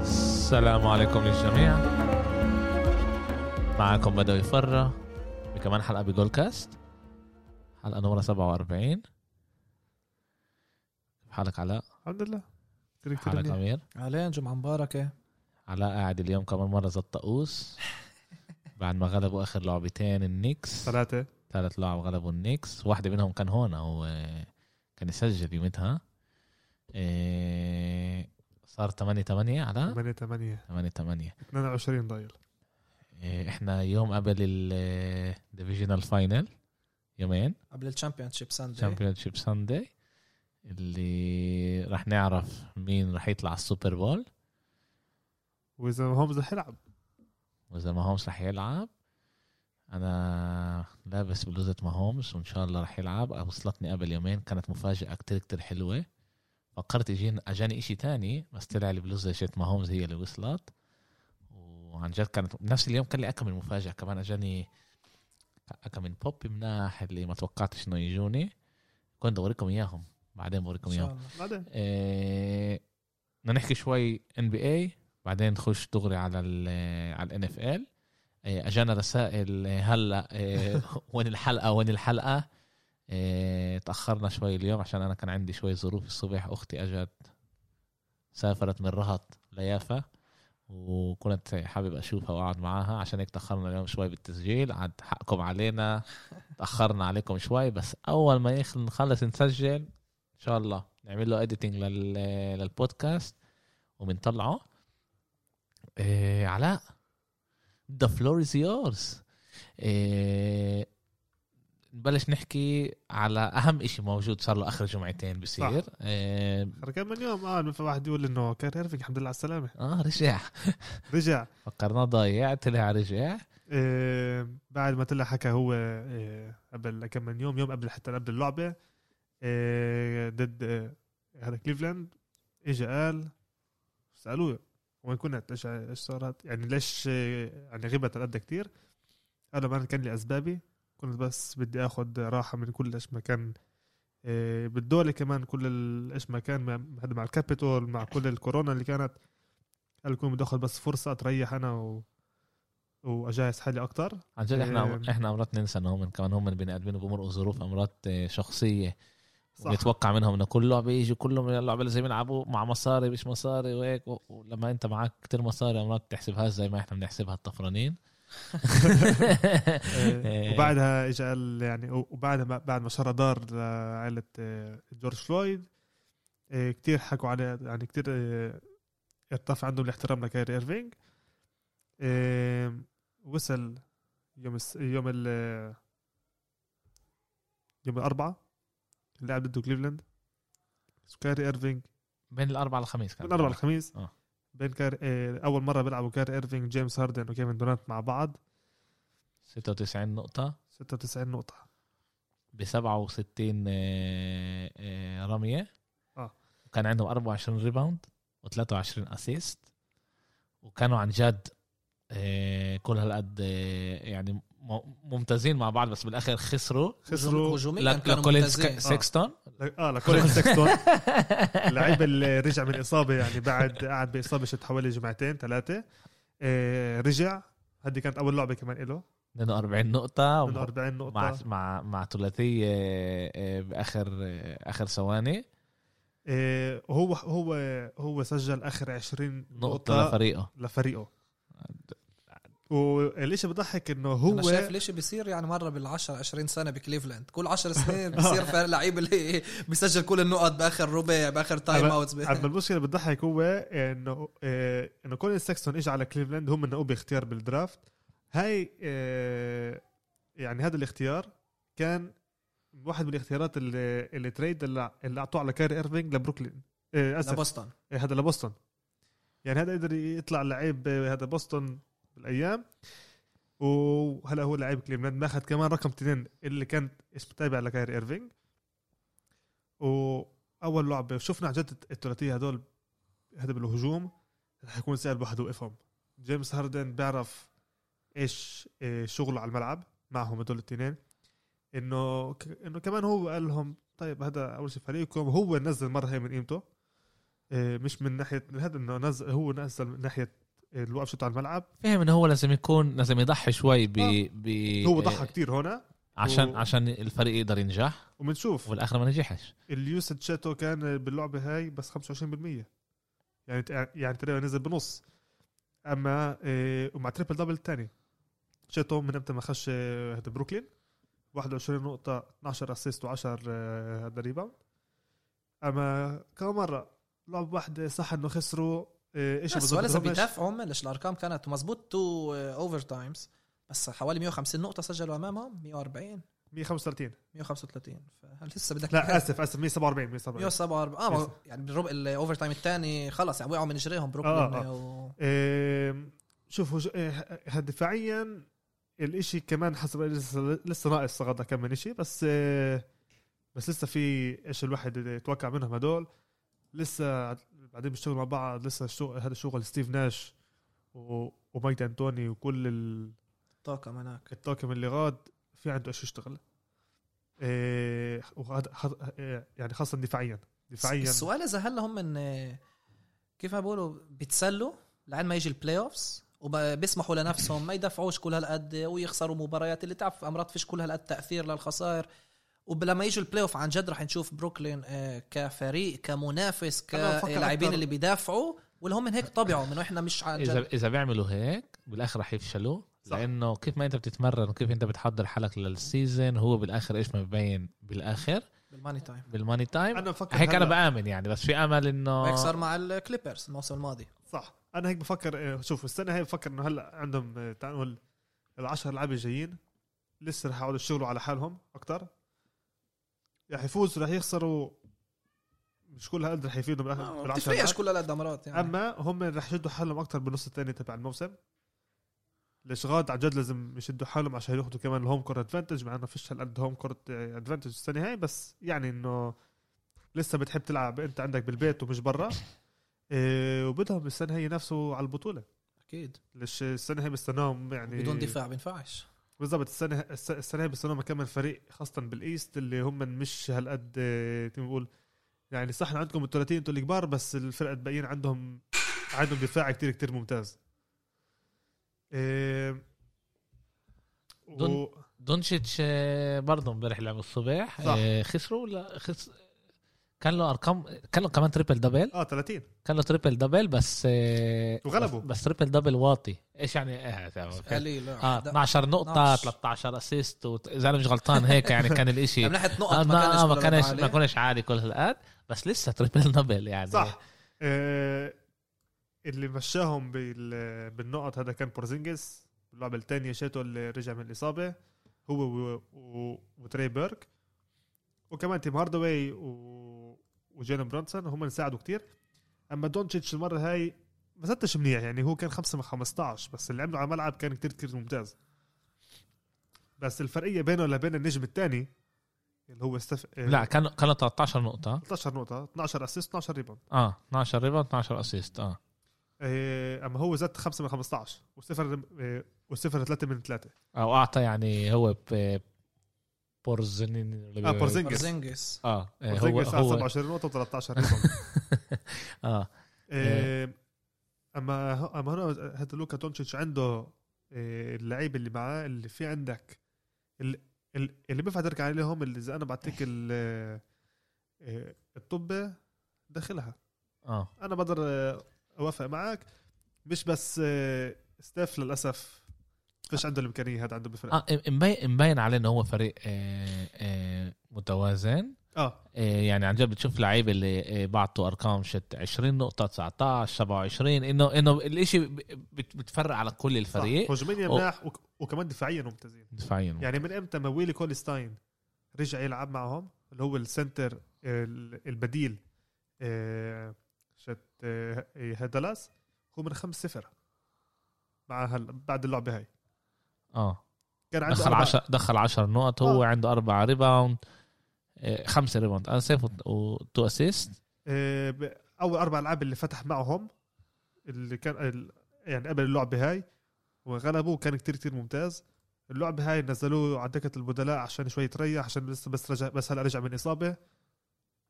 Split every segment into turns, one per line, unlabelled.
السلام عليكم للجميع معكم بدوي فرة بكمان حلقة بجول كاست حلقة نمرة 47 حالك علاء
الحمد لله كتير كتير
حالك
منيح.
أمير
اهلين جمعة مباركة
علاء قاعد اليوم كمان مرة زد طقوس بعد ما غلبوا آخر لعبتين النكس
ثلاثة
ثلاث لعب غلبوا النكس واحدة منهم كان هون هو كان يسجل يومتها إيه، صار 8 8 على
8 8
8 8
22 ضايل
احنا إيه، يوم قبل الديفيجنال فاينل يومين
قبل الشامبيون شيب ساندي
تشامبيون شيب ساندي اللي راح نعرف مين راح يطلع على السوبر بول
وإذا ما هومز رح يلعب
واذا ما هومس راح يلعب انا لابس بلوزة ما هومس وان شاء الله راح يلعب وصلتني قبل يومين كانت مفاجأة كتير كتير حلوة فكرت يجين اجاني اشي تاني بس طلع البلوزة شت ما هومس هي اللي وصلت وعن جد كانت نفس اليوم كان لي اكم من مفاجأة كمان اجاني اكم من بوب مناح اللي ما توقعتش انه يجوني كنت اوريكم اياهم بعدين بوريكم
إن
اياهم
شاء الله.
بعدين
إيه، بدنا نحكي شوي ان بي اي بعدين نخش دغري على ال على الان اف ال اجانا آه، رسائل إيه، هلا إيه، وين الحلقه وين الحلقه إيه، تاخرنا شوي اليوم عشان انا كان عندي شوي ظروف الصبح اختي اجت سافرت من رهط ليافا وكنت حابب اشوفها واقعد معاها عشان هيك تاخرنا اليوم شوي بالتسجيل عاد حقكم علينا تاخرنا عليكم شوي بس اول ما يخ- نخلص نسجل ان شاء الله نعمل له اديتنج لل... للبودكاست وبنطلعه إيه علاء ذا فلور از يورز إيه، نبلش نحكي على اهم شيء موجود صار له اخر جمعتين بصير إيه
صار كم من يوم قال ما في واحد يقول انه كان ايرفينج الحمد لله على السلامة
اه رجع
رجع
فكرناه ضايع طلع رجع
إيه بعد ما طلع حكى هو إيه قبل كم من يوم يوم قبل حتى قبل اللعبة إيه ضد إيه، هذا كليفلاند اجى قال سألوه وين كنت ليش ايش صارت يعني ليش إيه، يعني غبت هالقد كتير قال لهم انا كان لي اسبابي كنت بس بدي اخذ راحة من كل ايش ما كان إيه بالدولة كمان كل ال- ايش ما كان مع- هذا مع الكابيتول مع كل الكورونا اللي كانت قال كنت بدي اخذ بس فرصة اتريح انا و واجهز حالي اكتر
عن جد احنا
إيه.
احنا مرات ننسى انهم من- كمان هم من بني ادمين وبمرقوا ظروف امرات إيه، شخصيه
صح
نتوقع منهم انه كل لعبه يجي كلهم من اللعبه اللي زي بيلعبوا مع مصاري مش مصاري وهيك و- ولما انت معك كتير مصاري مرات تحسبها زي ما احنا بنحسبها الطفرانين آه،
إيه. وبعدها اجى قال يعني وبعدها ما- بعد ما شرى دار لعائله آه، جورج فلويد آه، كتير حكوا عليه يعني كتير آه، ارتفع عندهم الاحترام لكايري ايرفينج آه، وصل يوم الس... يوم ال آه، يوم الاربعاء لعب ضده كليفلاند كاري ايرفينج
بين الاربعاء للخميس كان
من الاربعاء الخميس
آه.
بين كار... آه، اول مره بيلعبوا كاري ايرفينج جيمس هاردن وكيفن دورانت مع بعض
96 نقطه
96 نقطه
ب 67 آه، آه، رميه
آه.
وكان عندهم 24 ريباوند و23 اسيست وكانوا عن جد آه، كل هالقد آه، يعني م- ممتازين مع بعض بس بالاخر خسروا
خسروا
هجوميا
لك-
كانوا
لكولين
ممتازين
سك- سكستون
لا- اه لكولين سكستون اللعيب اللي رجع من اصابه يعني بعد قعد باصابه شت حوالي جمعتين ثلاثه آه رجع هذه كانت اول لعبه كمان له
42 نقطة
من 40
مع
نقطه
مع مع ثلاثية آه، آه، بآخر آه، آخر ثواني
آه هو هو هو سجل اخر 20
نقطة
نقطه
لفريقه
لفريقه والشيء بضحك انه
أنا
هو
شايف ليش بيصير يعني مرة بالعشر 20 سنة بكليفلاند كل 10 سنين بيصير في لعيب اللي بيسجل كل النقط بآخر ربع بآخر تايم
أما-
اوتس
اما المشكله بتضحك هو انه آه، انه كولين ساكسون اجى على كليفلاند هم نقوه باختيار بالدرافت هاي آه، يعني هذا الاختيار كان واحد من الاختيارات اللي, اللي تريد اللي, اللي اعطوه على كاري ايرفينج لبروكلين آه، اسف
لبوسطن
آه، هذا لبوسطن يعني هذا قدر يطلع لعيب آه، هذا بوسطن بالايام وهلا هو لعيب كليفلاند ماخذ كمان رقم اثنين اللي كان اسمه تابع لكايري ايرفينج واول لعبه شفنا عن جد الثلاثيه هدول هذا بالهجوم رح يكون سهل بحد وقفهم جيمس هاردن بيعرف ايش إيه شغله على الملعب معهم هدول الاثنين انه ك- انه كمان هو قال لهم طيب هذا اول شيء فريقكم آه، هو نزل مره هي من قيمته إيه، مش من ناحيه هذا انه نزل هو نزل من ناحيه وقفته على الملعب
فاهم انه هو لازم يكون لازم يضحي شوي ب
آه.
ب
هو
إيه،
آه،
ضحى كتير هنا
عشان
و-
عشان الفريق يقدر ينجح
وبنشوف
والاخر ما نجحش
اليوسج تشاتو كان باللعبه هاي بس 25% يعني يعني تقريبا نزل بنص اما آه، ومع تريبل دبل الثاني تشاتو من امتى ما خش آه، هذا بروكلين 21 نقطة 12 اسيست و10 هذا ريباوند اما كم مرة لعب واحدة صح انه خسروا آه، ايش
بس
بالضبط
ولا
بدهمش.
بيدافعوا هم ليش الارقام كانت مزبوط تو اوفر تايمز بس حوالي 150 نقطه سجلوا امامهم 140
135
135 فهل لسه بدك
لا اسف اسف 147 147
147 اه ما- يعني بالربع الاوفر تايم الثاني خلص يعني وقعوا من رجليهم بروكلين
آه،
و...
آم، شوف هج- آه، ه- دفاعيا الاشي كمان حسب لسه, لسه ناقص صغدا كم من اشي بس آه، بس لسه في ايش الواحد يتوقع منهم هدول لسه بعدين بيشتغلوا مع بعض لسه الشغل هذا شغل ستيف ناش و- ومايك انتوني وكل ال-
الطاقم هناك
الطاقم اللي غاد في عنده ايش يشتغل آه، وهذا هذا- آه، يعني خاصه دفاعيا دفاعيا
السؤال اذا هلا هم من كيف ما بقولوا بيتسلوا لعند ما يجي البلاي اوفز وبيسمحوا لنفسهم ما يدافعوش كل هالقد ويخسروا مباريات اللي تعرف امرات فيش كل هالقد تاثير للخسائر ولما يجوا البلاي اوف عن جد رح نشوف بروكلين آه، كفريق كمنافس
أنا بفكر
كلاعبين
أكتر.
اللي بيدافعوا واللي هم من هيك طبعوا انه احنا مش عن
اذا
جد
اذا بيعملوا هيك بالاخر رح يفشلوا
صح.
لانه كيف ما انت بتتمرن وكيف انت بتحضر حالك للسيزون هو بالاخر ايش ما ببين بالاخر
بالماني تايم
بالماني تايم
انا بفكر
هيك انا
هلأ-
بامن يعني بس في امل
هيك
انه
صار مع الكليبرز الموسم الماضي
صح انا هيك بفكر آه، شوف السنه هي بفكر انه هلا عندهم آه، تعال نقول العشر لعيبه جايين لسه رح يقعدوا يشتغلوا على حالهم اكثر رح يفوزوا رح يخسروا مش كل هالقد رح يفيدهم
أه،
بالآخر
ما
بالعشر
بتفرقش
لعيب.
كل هالقد مرات يعني
اما هم رح يشدوا حالهم اكثر بالنص الثاني تبع الموسم ليش غاد عن جد لازم يشدوا حالهم عشان ياخذوا كمان الهوم كورت ادفانتج مع انه فيش هالقد هوم كورت ادفانتج السنه هاي بس يعني انه لسه بتحب تلعب انت عندك بالبيت ومش برا إيه وبدهم السنه هي نفسه على البطوله
اكيد
ليش السنه هي بستناهم يعني
إيه.
بدون دفاع بينفعش
بالضبط السنه الس- السنه هي بستناهم كمان فريق خاصه بالايست اللي هم مش هالقد آه، كيف بنقول يعني صح إن عندكم الثلاثين انتوا الكبار بس الفرق الباقيين عندهم عندهم دفاع كتير كتير ممتاز إيه و...
دون- دونتشيتش آه، برضه امبارح لعب الصبح
صح.
آه، خسروا ولا خس كان له ارقام كان له كمان تريبل دبل
اه 30
كان له تريبل دبل بس آه،
وغلبوا.
بس- بس تريبل دبل واطي ايش يعني آه، تمام، أوكي.
قليل آه،
اه
ده-
12 نقطة
12.
13 اسيست وت- اذا انا مش غلطان هيك يعني كان الاشي
من ناحيه نقط
آه،
ما كانش
ما ما
كل
كانش
الألعاب
ما
عليه.
كانش عالي كل هالقد بس لسه تريبل دبل يعني
صح إيه اللي مشاهم بال... بالنقط هذا كان بورزينجس اللعبه الثانيه شاتو اللي رجع من الاصابه هو و... و... وتري بيرك وكمان تيم هاردواي و... وجيلن برونسون هم اللي ساعدوا كتير اما دونتشيتش المره هاي ما سدش منيح يعني هو كان 5 من 15 بس اللي عمله على الملعب كان كتير كتير ممتاز بس الفرقيه بينه وبين النجم الثاني اللي هو آه، استف...
لا كان كان له 13 نقطة
13 نقطه 12 اسيست 12 ريباوند
اه 12 ريباوند 12 اسيست اه
إيه، اما هو زاد 5 من 15 وصفر إيه، وصفر 3 من 3
او اعطى يعني هو ب- بورزنين
اه بورزينجس
بورزينجس
اه آه، هو
بورزينجس على
هو
27 نقطه و13 ريباوند
اه
إيه، اما ه- اما هنا هذا لوكا دونتشيتش عنده إيه، اللعيب اللي معاه اللي في عندك اللي, اللي بينفع تركع عليهم اللي اذا انا بعطيك ال- إيه، الطبه داخلها
اه
انا بقدر آه، اوافق معك مش بس آه، ستيف للاسف فيش عنده الامكانيه هذا عنده بالفرق
اه مبين مبين عليه انه هو فريق آه، آه، متوازن
اه
إيه يعني عن جد بتشوف لعيبه اللي إيه بعطوا ارقام شت 20 نقطه 19 27 انه انه الاشي ب- بت- بتفرق على كل الفريق
صح، هجوميا
أو-
مناح وك... وكمان دفاعيا ممتازين
دفاعيا
يعني من امتى ما ويلي كولستاين رجع يلعب معهم اللي هو السنتر ال- البديل آه، شت آه، هدلاس هو من 5 0 مع هل... بعد اللعبه هاي
اه
كان يعني عنده
دخل
أربعة- آه.
10 دخل 10 نقط هو عنده اربع ريباوند إيه خمسه ريباوند اسف وتو اسيست
آه، ب- اول اربع العاب اللي فتح معهم اللي كان ال- يعني قبل اللعبه هاي وغلبوه كان كتير كتير ممتاز اللعبه هاي نزلوه على دكه البدلاء عشان شوي يتريح عشان بس بس رجع بس هلا رجع من اصابه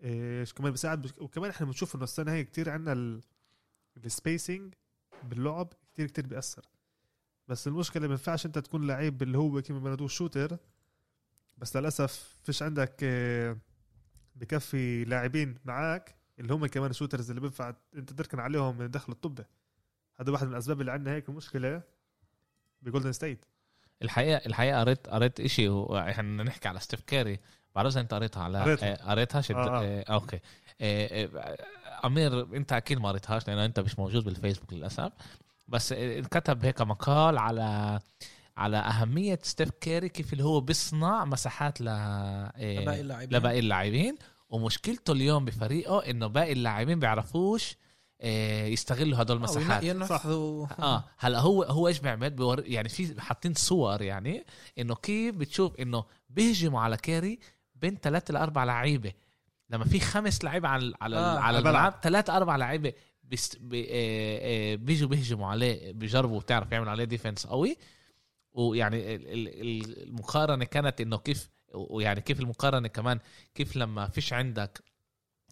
ايش كمان بيساعد وكمان احنا بنشوف انه السنه هي كتير عندنا السبيسنج باللعب كتير كتير بيأثر بس المشكله ما ينفعش انت تكون لعيب اللي هو كما بنادوه شوتر بس للاسف فيش عندك آه، بكفي لاعبين معك اللي هم كمان شوترز اللي بينفع انت تركن عليهم من دخل الطبه هذا واحد من الاسباب اللي عندنا هيك مشكله بجولدن ستيت
الحقيقه الحقيقه قريت قريت شيء احنا نحكي على ستيف كاري بعرفش انت قريتها على
قريتها.
آه، قريتها شد...
آه، آه.
آه. اوكي آه، آه، امير انت اكيد ما قريتهاش لانه انت مش موجود بالفيسبوك للاسف بس آه، انكتب هيك مقال على على اهميه ستيف كاري كيف اللي هو بيصنع مساحات ل آه،
لباقي اللاعبين
لباقي اللاعبين ومشكلته اليوم بفريقه انه باقي اللاعبين بيعرفوش آه، يستغلوا هدول المساحات
ينفذوا
اه هلا هو هو ايش بيعمل بيور يعني في حاطين صور يعني انه كيف بتشوف انه بيهجموا على كاري بين ثلاثة لاربع لعيبه لما في خمس لعيبه على على
آه،
آه
على
على
الملعب.
الملعب ثلاثة اربع لعيبه بيست- بي- آه، آه، بيجوا بيهجموا عليه بيجربوا بتعرف يعمل عليه ديفنس قوي ويعني ال- ال- ال- المقارنه كانت انه كيف ويعني كيف المقارنه كمان كيف لما فيش عندك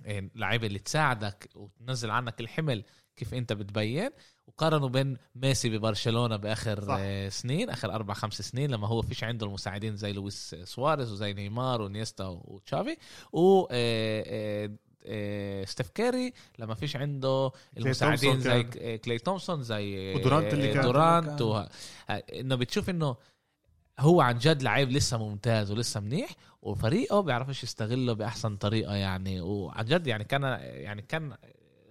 آه، لعيبه اللي تساعدك وتنزل عنك الحمل كيف انت بتبين وقارنوا بين ميسي ببرشلونه باخر
صح.
صح. سنين اخر اربع خمس سنين لما هو فيش عنده المساعدين زي لويس سواريز وزي نيمار ونيستا وتشافي و آه، آه، آه، ستيف كيري لما فيش عنده المساعدين
تومسون
زي
كان.
ك- كلي تومسون زي
ودورانت اللي
آه،
كان.
دورانت
كان.
و... آه، انه بتشوف انه هو عن جد لعيب لسه ممتاز ولسه منيح وفريقه بيعرفش يستغله باحسن طريقه يعني وعن جد يعني كان يعني كان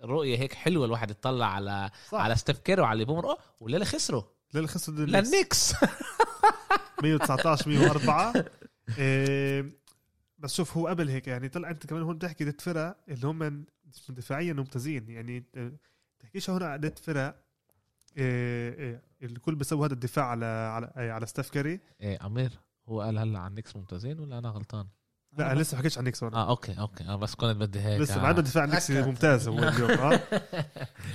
رؤيه هيك حلوه الواحد يطلع على
صح
على ستيف كيري وعلى اللي بومر وليلة خسروا
للي خسروا ضد النكس.
للنكس
119 104 إيه، بس شوف هو قبل هيك يعني طلع انت كمان هون بتحكي ضد فرق اللي هم دفاعيا ممتازين يعني أنت بتحكيش هون ضد فرق إيه، إيه، الكل بيسوي هذا الدفاع على على إيه، على ستيف كاري
ايه امير هو قال هلا عن النكس ممتازين ولا انا غلطان؟
لا انا لسه ما حكيتش عن نيكس هون
اه اوكي اوكي اه بس كنت بدي هيك
لسه
آه.
مع انه دفاع النكس
أكد.
ممتاز هو اليوم اه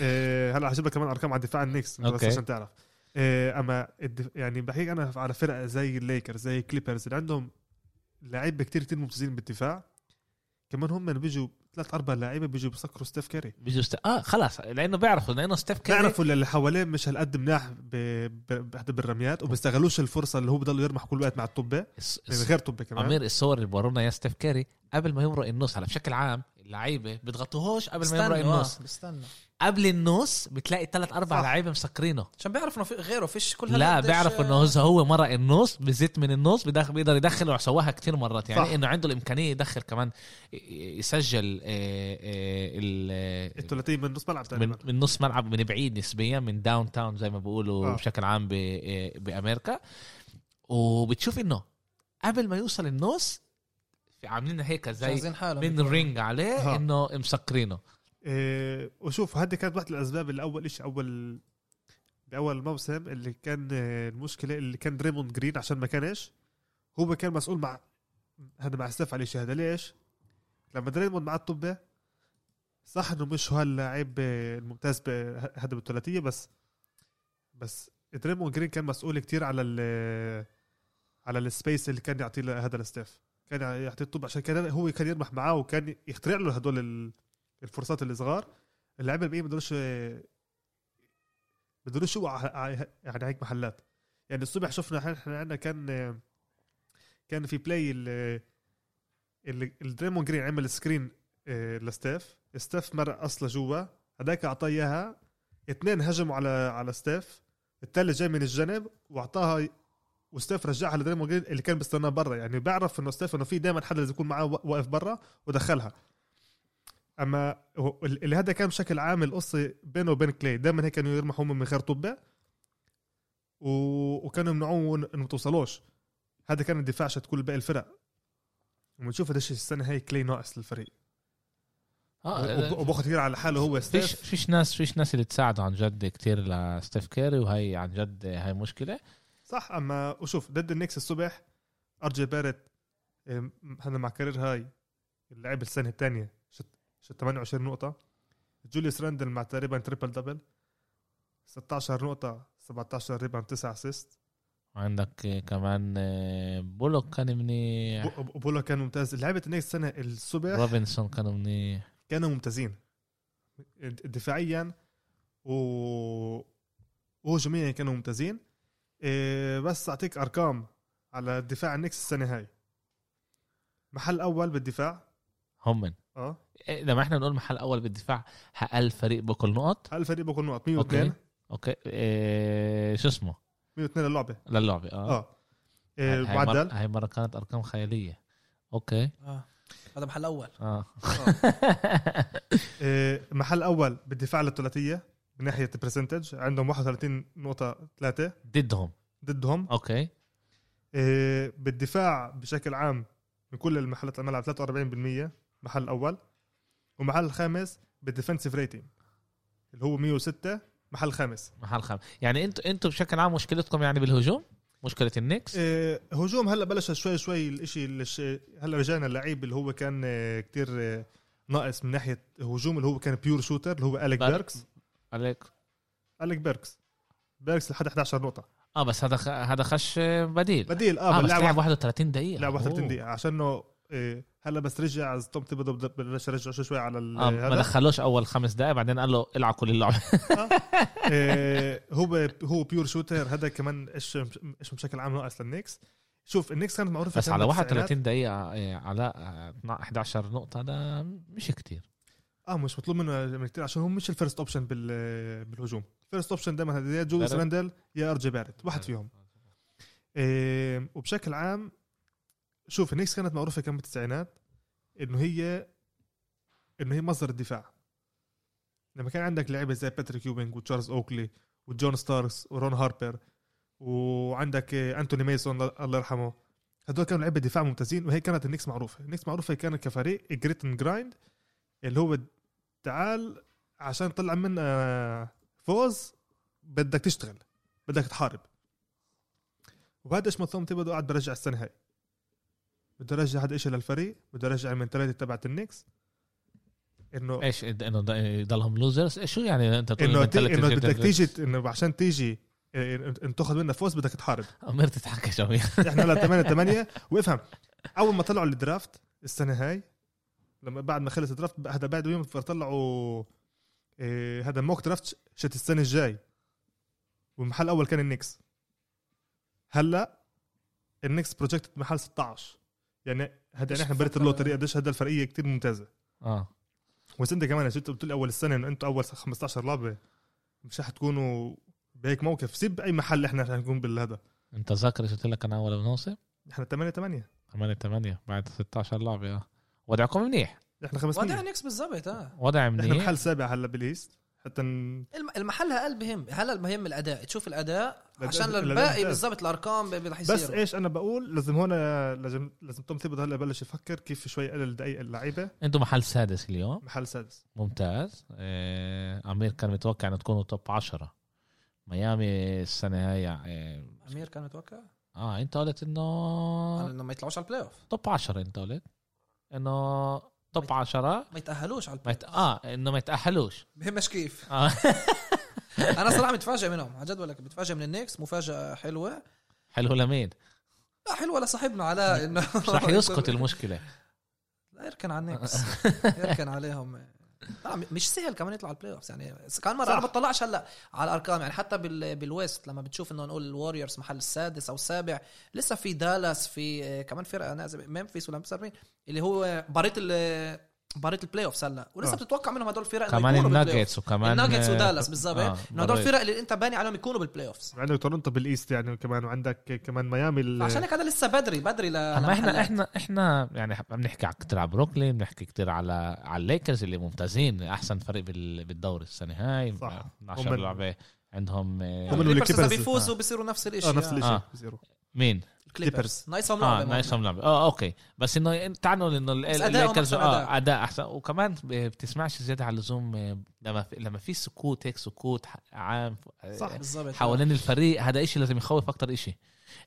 إيه، هلا حجيب لك كمان ارقام على دفاع النكس بس
أوكي.
عشان تعرف إيه، اما الدف... يعني بحكيك انا على فرق زي الليكرز زي الكليبرز اللي عندهم لعيبه كتير كتير ممتازين بالدفاع كمان هم اللي بيجوا ثلاث اربع لعيبه بيجوا بسكروا ستيف كاري
بيجوا است... اه خلاص لانه بيعرفوا لانه ستيف كيري
بيعرفوا اللي حواليه مش هالقد مناح ب... ب... بحد بالرميات وبيستغلوش الفرصه اللي هو بضل يرمح كل وقت مع الطبه
الس-
من
الس-
غير طبه كمان
امير الصور اللي ورونا يا ستيف كيري قبل ما يمرق النص هلا بشكل عام اللعيبه بيضغطوهوش قبل ما يمرق
بستنوا آه،
النص
بستنوا
قبل النص بتلاقي ثلاث اربع
صح.
لعيبه مسكرينه
عشان بيعرف انه في غيره فيش كل
لا
هالقديش-
بيعرف انه إذا هو مرق النص بزيت من النص بدخ- بيقدر يدخل وسواها كتير مرات يعني
صح.
صح. انه عنده الامكانيه يدخل كمان ي- ي- يسجل آه، آه، ال-
الثلاثيه من نص ملعب
من
تقريبا
من نص ملعب من بعيد نسبيا من داون تاون زي ما بيقولوا
آه.
آه. بشكل عام ب- آه، بامريكا وبتشوف انه قبل ما يوصل النص في- عاملين هيك زي
جاهزين حالهم
من رينج عليه
آه.
آه. انه مسكرينه
إيه، وشوف هذه كانت واحدة الأسباب اللي أول إيش أول بأول موسم اللي كان آه، المشكلة اللي كان ريموند جرين عشان ما كانش هو كان مسؤول مع هذا مع ستيف على الشيء هذا ليش؟ لما ريموند مع الطبة صح انه مش هو اللاعب آه، الممتاز ب- هذا بالثلاثية بس بس ريموند جرين كان مسؤول كتير على ال آه، على السبيس اللي كان يعطيه هذا الستيف كان يعطيه الطب عشان كان هو كان يرمح معاه وكان يخترع له هدول ال- الفرصات الصغار اللعيبه الباقيين ما بيقدروش بيقدروش يوقعوا ع- يعني هيك محلات يعني الصبح شفنا احنا عندنا كان كان في بلاي ال- اللي الدريمون جرين عمل سكرين آه، لستيف ستيف مرق اصله جوا هداك اعطاه اياها اثنين هجموا على على ستيف الثالث جاي من الجنب واعطاها وستيف رجعها لدريمون جرين اللي كان بيستناه برا يعني بعرف انه ستيف انه في دائما حدا لازم يكون معاه واقف برا ودخلها اما هو- ال- اللي هذا كان بشكل عام القصه بينه وبين كلاي دائما هيك كانوا يرمحوا هم من غير طبه و... وكانوا يمنعوه إن- انه ما توصلوش هذا كان الدفاع شت كل باقي الفرق وبنشوف قديش السنه هي كلاي ناقص للفريق وب-
اه
وباخذ كثير على حاله هو
فيش
ستيف
فيش ناس فيش ناس اللي تساعده عن جد كتير لستيف كيري وهي عن جد هاي مشكله
صح اما وشوف ضد النكس الصبح ارجي بارت هذا مع كارير هاي اللاعب السنه الثانيه شت شت 28 نقطه جوليوس راندل مع تقريبا تريبل دبل 16 نقطه 17 ريبان 9 اسيست
عندك كمان آه، بولوك كان منيح
بو- بو- بولا كان ممتاز لعبة النكس السنة الصبح
روبنسون كان منيح
كانوا ممتازين د- دفاعيا و وهجوميا كانوا ممتازين إيه، بس اعطيك ارقام على دفاع النكس السنه هاي محل اول بالدفاع
هم من
اه
إيه، لما احنا بنقول محل اول بالدفاع اقل فريق باكل نقط
هل الفريق بكون نقط 102
أوكي. اوكي إيه شو اسمه
102 اللعبه
للعبه اه,
اه إيه،
هاي- هاي, مرة
معدل
هاي مره كانت ارقام خياليه اوكي
آه. هذا محل اول
اه
إيه، محل اول بالدفاع للثلاثيه من ناحيه برسنتج عندهم 31 نقطه 3
ضدهم
ضدهم
اوكي
إيه، بالدفاع بشكل عام من كل المحلات الملعب 43% محل اول ومحل الخامس بالديفنسيف ريتنج اللي هو 106 محل خامس
محل خامس يعني انتوا انتوا بشكل عام مشكلتكم يعني بالهجوم مشكله النكس
إيه، هجوم هلا بلش شوي شوي الاشي اللي ش- هلا رجعنا اللعيب اللي هو كان إيه، كتير إيه، ناقص من ناحيه هجوم اللي هو كان بيور شوتر اللي هو اليك
بر-
بيركس
عليك
اليك بيركس بيركس لحد 11 نقطه
اه بس هذا خ... هذا خش بديل
بديل اه,
اه
آه
بس لعب
بلعب
31 دقيقه
لعب 31
أوه.
دقيقه عشان انه إيه، هلا بس رجع توم تيبو بده- بلش يرجع شوي شوي على ال-
اه ما دخلوش اول خمس دقائق بعدين قال له العب كل اللعبه
إيه، هو هو بيور شوتر هذا كمان ايش ايش بشكل عام ناقص للنكس شوف النكس كانت معروفه
بس
كانت
على
بالتسعينات.
31 دقيقه إيه، على آه، 12 11 نقطه ده مش كتير
اه مش مطلوب منه من كثير عشان هو مش الفيرست اوبشن بال بالهجوم الفيرست اوبشن دائما هذا يا جوليس
بارد.
راندل يا ار جي بارت واحد فيهم إيه، وبشكل عام شوف النكس كانت معروفه كان بالتسعينات انه هي انه هي مصدر الدفاع لما كان عندك لعيبه زي باتريك يوبينج وتشارلز اوكلي وجون ستاركس ورون هاربر وعندك إيه، انتوني ميسون الله يرحمه هدول كانوا لعيبه دفاع ممتازين وهي كانت النكس معروفه النكس معروفه كانت كفريق جريت اند جرايند اللي هو تعال عشان طلع منا فوز بدك تشتغل بدك تحارب وهذا ايش مطلوب تبدو قاعد برجع السنه هاي بده يرجع هذا الشيء للفريق بده يرجع المنتاليتي تبعت النكس انه
ايش انه ده- يضلهم لوزرز إيه، شو يعني انت تقول
انه
إنت
تي-
اللي
انه
تجي-
بدك تيجي انه عشان تيجي إيه، ان تاخذ منا فوز بدك تحارب
عمر تتحكى شوي
احنا هلا 8 8 وافهم اول ما طلعوا الدرافت السنه هاي لما بعد ما خلص الدرافت بقى- هذا بعد يوم فطلعوا إيه، هذا موك درافت شت السنه الجاي والمحل الاول كان النكس هلا النكس بروجكت محل 16 يعني هذا يعني احنا بريت اللوتري قديش هذا الفرقيه كتير ممتازه
اه
بس انت كمان شفت قلت لي اول السنه انه انتم اول 15 لعبه مش رح تكونوا بهيك موقف سيب اي محل احنا رح نكون بالهذا
انت ذاكر ايش قلت لك انا اول موسم
احنا 8 8
8 8 بعد 16 لعبه اه وضعكم منيح
احنا 500
وضع نيكس بالضبط اه
وضع
احنا
منيح
محل سابع هلا بالايست حتى ن-
الم- المحل هل بهم هلا المهم الاداء تشوف الاداء
الأداء-
عشان
الأداء
الباقي
ممتاز.
بالضبط الارقام ب- رح
بس
إيه؟
يصيروا
ايش انا بقول لازم هون لازم لازم توم تيبود هلا بلش يفكر كيف شوي يقلل دقائق اللعيبه
انتم محل سادس اليوم
محل سادس
ممتاز آه، امير كان متوقع ان تكونوا توب 10 ميامي السنه هاي آه،
امير كان متوقع
اه انت قلت
على
انه
انه ما يطلعوش على البلاي اوف
توب 10 انت قلت انه توب 10
ما يتاهلوش على
ما
البلاي
يت... اه انه ما يتاهلوش
بهمش كيف
آه.
انا صراحه متفاجئ منهم عن جد ولا متفاجئ من النكس مفاجاه حلوه
حلو لمين
لا حلوه لصاحبنا علاء انه
مش رح يسقط المشكله
لا يركن على النكس يركن عليهم لا م- مش سهل كمان يطلع على البلاي اوفز يعني كان مره
صح.
انا ما بطلعش هلا على الارقام يعني حتى بال بالويست لما بتشوف انه نقول الوريورز محل السادس او السابع لسه في دالاس في آه، كمان فرقه نازله ممفيس ولا مسربين اللي هو بريت ال بريت البلاي اوفز هلا ولسه
آه.
بتتوقع منهم هدول الفرق إنه
كمان
يكونوا بالبلاي أوفز.
الناجتس وكمان
الناجتس
آه،
ودالاس بالظبط
آه،
انه هدول
بريت.
الفرق اللي انت باني عليهم يكونوا بالبلاي اوفز
عندك تورنتو بالايست يعني كمان وعندك كمان ميامي ال-
عشان هيك هذا لسه بدري بدري ل
اما احنا
لمحلات.
احنا احنا يعني حب- بنحكي على- كتير على بروكلين بنحكي كتير على على الليكرز اللي ممتازين احسن فريق بال- بالدوري السنه هاي
صح.
12
هم-
لعبه عندهم آه،
هم
الكليبرز
اللي
يعني. إذا
كبرز.
بيفوزوا بيصيروا نفس الشيء
اه نفس آه، الشيء
آه.
زيرو
مين
الكليبرز ناقصهم
اه
لعبه
نايس هم لعبه اه اوكي بس انه تعالوا انه ال-
بس أدائهم
الليكرز
أحسن
اه
أداء.
اداء احسن وكمان ب- بتسمعش زياده على اللزوم آه، لما في لما في سكوت هيك سكوت ح- عام آه،
صح.
بالظبط
حوالين الفريق هذا إشي لازم يخوف اكتر إشي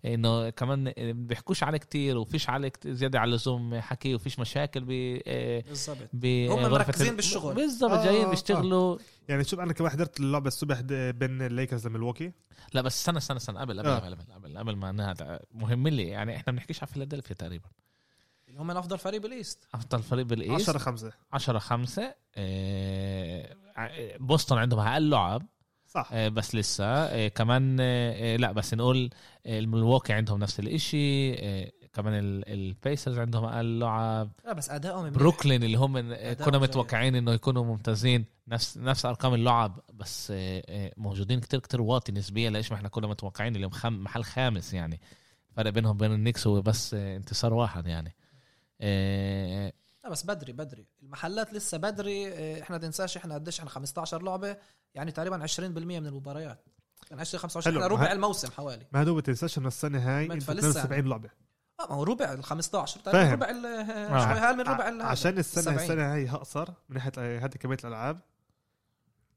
انه كمان آه، بيحكوش عليه كتير وفيش عليه كت- زياده على اللزوم حكي وفيش مشاكل ب آه،
بالظبط
ب
هم
غرفة
مركزين
ال-
بالشغل.
بالضبط
آه،
جايين
آه.
بيشتغلوا
يعني شوف انا كمان حضرت اللعبه الصبح د- بين الليكرز لميلواكي
لا بس استنى استنى استنى قبل قبل
آه.
قبل قبل- قبل قبل ما نهدى مهم لي يعني احنا بنحكيش على فيلادلفيا تقريبا
اللي هم افضل فريق بالايست
افضل فريق بالايست
10 5
آه، 10 5 آه، بوسطن عندهم اقل لعب
صح
آه، بس لسه آه، كمان آه، آه، لا بس نقول آه، الملواكي عندهم نفس الاشي آه، كمان ال- البيسرز عندهم اقل لعب
لا بس ادائهم منيح.
بروكلين اللي هم آه،
أداء
كنا
جميل.
متوقعين انه يكونوا ممتازين نفس نفس ارقام اللعب بس آه، آه، موجودين كتير كتير واطي نسبيا لايش ما احنا كنا متوقعين اليوم خم محل خامس يعني الفرق بينهم وبين النكس هو بس آه، انتصار واحد يعني آه،
لا بس بدري بدري المحلات لسه بدري إيه، احنا تنساش احنا قديش احنا 15 لعبه يعني تقريبا 20% من المباريات يعني كان 20 25
حلو،
احنا
ما
ربع
ه-
الموسم حوالي
ما هدول ما تنساش انه السنه هاي
ما
انت
فلسه.
72 لعبه
اه ما هو ربع ال 15 تقريبا
فاهم.
ربع ال-
آه.
شوي اقل من ربع ال-
ع- عشان السنه
70.
السنه هاي اقصر من ناحيه هذه كميه الالعاب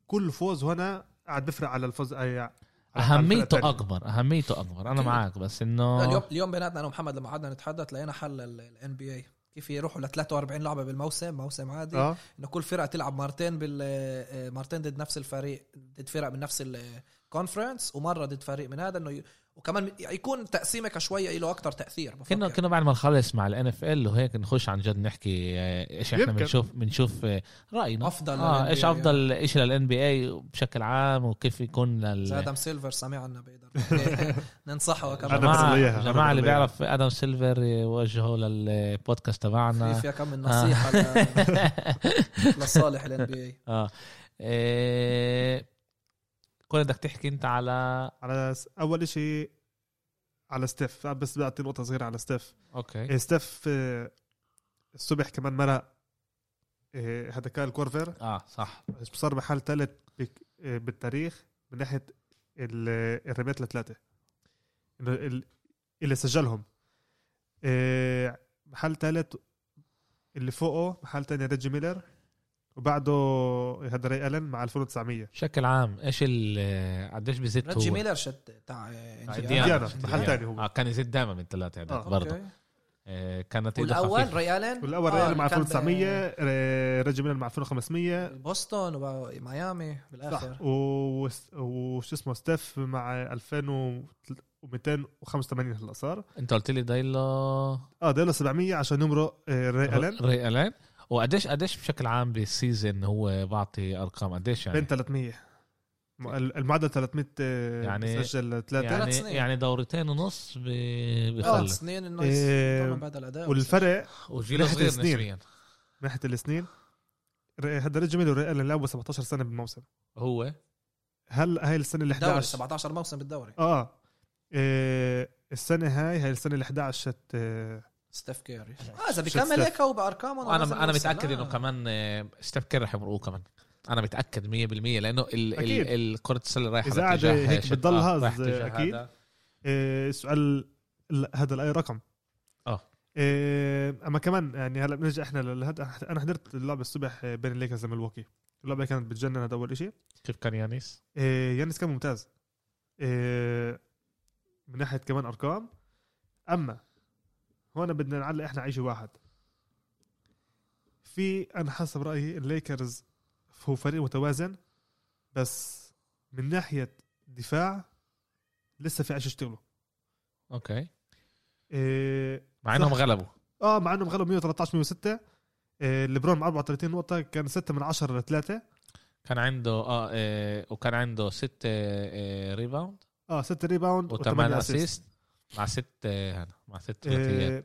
كل فوز هنا قاعد بفرق على الفوز أي- على- على الفرقة
اهميته
التانية.
اكبر اهميته اكبر انا
أكيد.
معك بس
لا، اليوم
انه
اليوم بيناتنا انا ومحمد لما قعدنا نتحدث لقينا حل الان بي اي كيف يروحوا ل 43 لعبه بالموسم موسم عادي
اه
انه كل فرقه تلعب مرتين بال آه، مرتين ضد نفس الفريق ضد فرق من نفس الكونفرنس ومره ضد فريق من هذا انه ي- وكمان يكون تقسيمك شويه له اكثر تاثير بفكر.
كنا كنا بعد ما نخلص مع الان اف ال وهيك نخش عن جد نحكي آه، ايش احنا
يمكن.
بنشوف بنشوف آه، راينا
افضل
اه
لل
ايش
NBA
افضل شيء للان بي اي بشكل عام وكيف يكون
إذا
لل
ادم سيلفر سامع عنا بيقدر ننصحه كمان
أدم
جماعة
سيلفر. إياها،
جماعة اللي
أنا بقول
بيعرف ادم سيلفر يوجهه للبودكاست
في
تبعنا آه.
فيها كم من نصيحه ل- لصالح الان بي اي
اه إيه، كنت بدك تحكي انت على
على س- اول شيء على ستيف آه، بس بعطي نقطه صغيره على ستيف
اوكي
إيه، ستيف آه، الصبح كمان مرق آه، هذا كايل كورفر
اه صح
صار محل ثالث بك- آه، بالتاريخ من ناحيه ال- الرميات لثلاثه إنه ال- اللي سجلهم آه، محل ثالث اللي فوقه محل ثاني ريجي ميلر وبعده هذا ري الن مع 2900
بشكل عام ايش ال- قديش بزت
ريجي
هو؟
ميلر شت تاع
تاع
إنديانا.
إنديانا.
إنديانا، محل تاني هو.
اه كان يزيد دائما من ثلاثة هذاك
آه،
برضه
أوكي.
إيه، كانت إيده
والاول
خفيفة.
ريالين
والاول ري الن
آه،
مع 2900 آه، ريجي ميلر مع 2500
بوسطن وميامي بالاخر
صح و- وش اسمه ستيف مع 2285 هلا صار
انت قلت لي دايلا
اه ديله 700 عشان يمرق آه، ري الن
ري الين وقديش قديش بشكل عام بالسيزون هو بعطي ارقام قديش يعني
بين 300 م- المعدل 300 آه،
يعني-
سجل ثلاثة
يعني
ثلاث سنين. آه،
يعني دورتين ونص ب-
ثلاث
بخلص
سنين انه
إيه،
يضمن بدل اداء
والفرق
وجيله
ثلاث
صغير
سنين.
نسبيا
من ناحيه السنين ر- هذا ريجي ميلر وريال لعبوا 17 سنه بالموسم
هو
هل هاي السنه ال
دوري
11
17 موسم بالدوري
اه إيه، السنه هاي هاي السنه ال 11 شت آه،
ستيف كيري اه اذا
شت
بيكمل
ستيف.
هيك هو بارقامه لازم
انا انا
يوصل.
متاكد
لا.
انه كمان آه، ستيف كير رح يمرقوه كمان انا متاكد 100% لانه ال
أكيد.
ال- ال- كره السله رايحه
إذا قاعد
باتجاه
هيك
شت-
بتضل
آه،
هاز،
رايحة اتجاه
أكيد.
هذا.
إيه، السؤال ال- هذا لاي رقم
آه.
إيه، اما كمان يعني هلا بنرجع احنا لهذا انا حضرت اللعبه الصبح آه، بين الليكرز وملواكي اللعبه كانت بتجنن هذا اول شيء
كيف كان يانيس
إيه، يانس كان ممتاز إيه، من ناحيه كمان ارقام اما هون بدنا نعلق احنا على شيء واحد في انا حسب رايي الليكرز هو فريق متوازن بس من ناحيه دفاع لسه في عيش يشتغلوا
اوكي
إيه،
مع انهم
صح.
غلبوا
اه مع انهم غلبوا 113 106 إيه، ليبرون مع 34 نقطه كان 6 من 10 ل3
كان عنده اه آه، وكان عنده ست آه، آه، ريباوند
اه 6 ريباوند
وثمان
و8
اسيست مع ست آه، هذا مع ست ثلاثيات
إيه،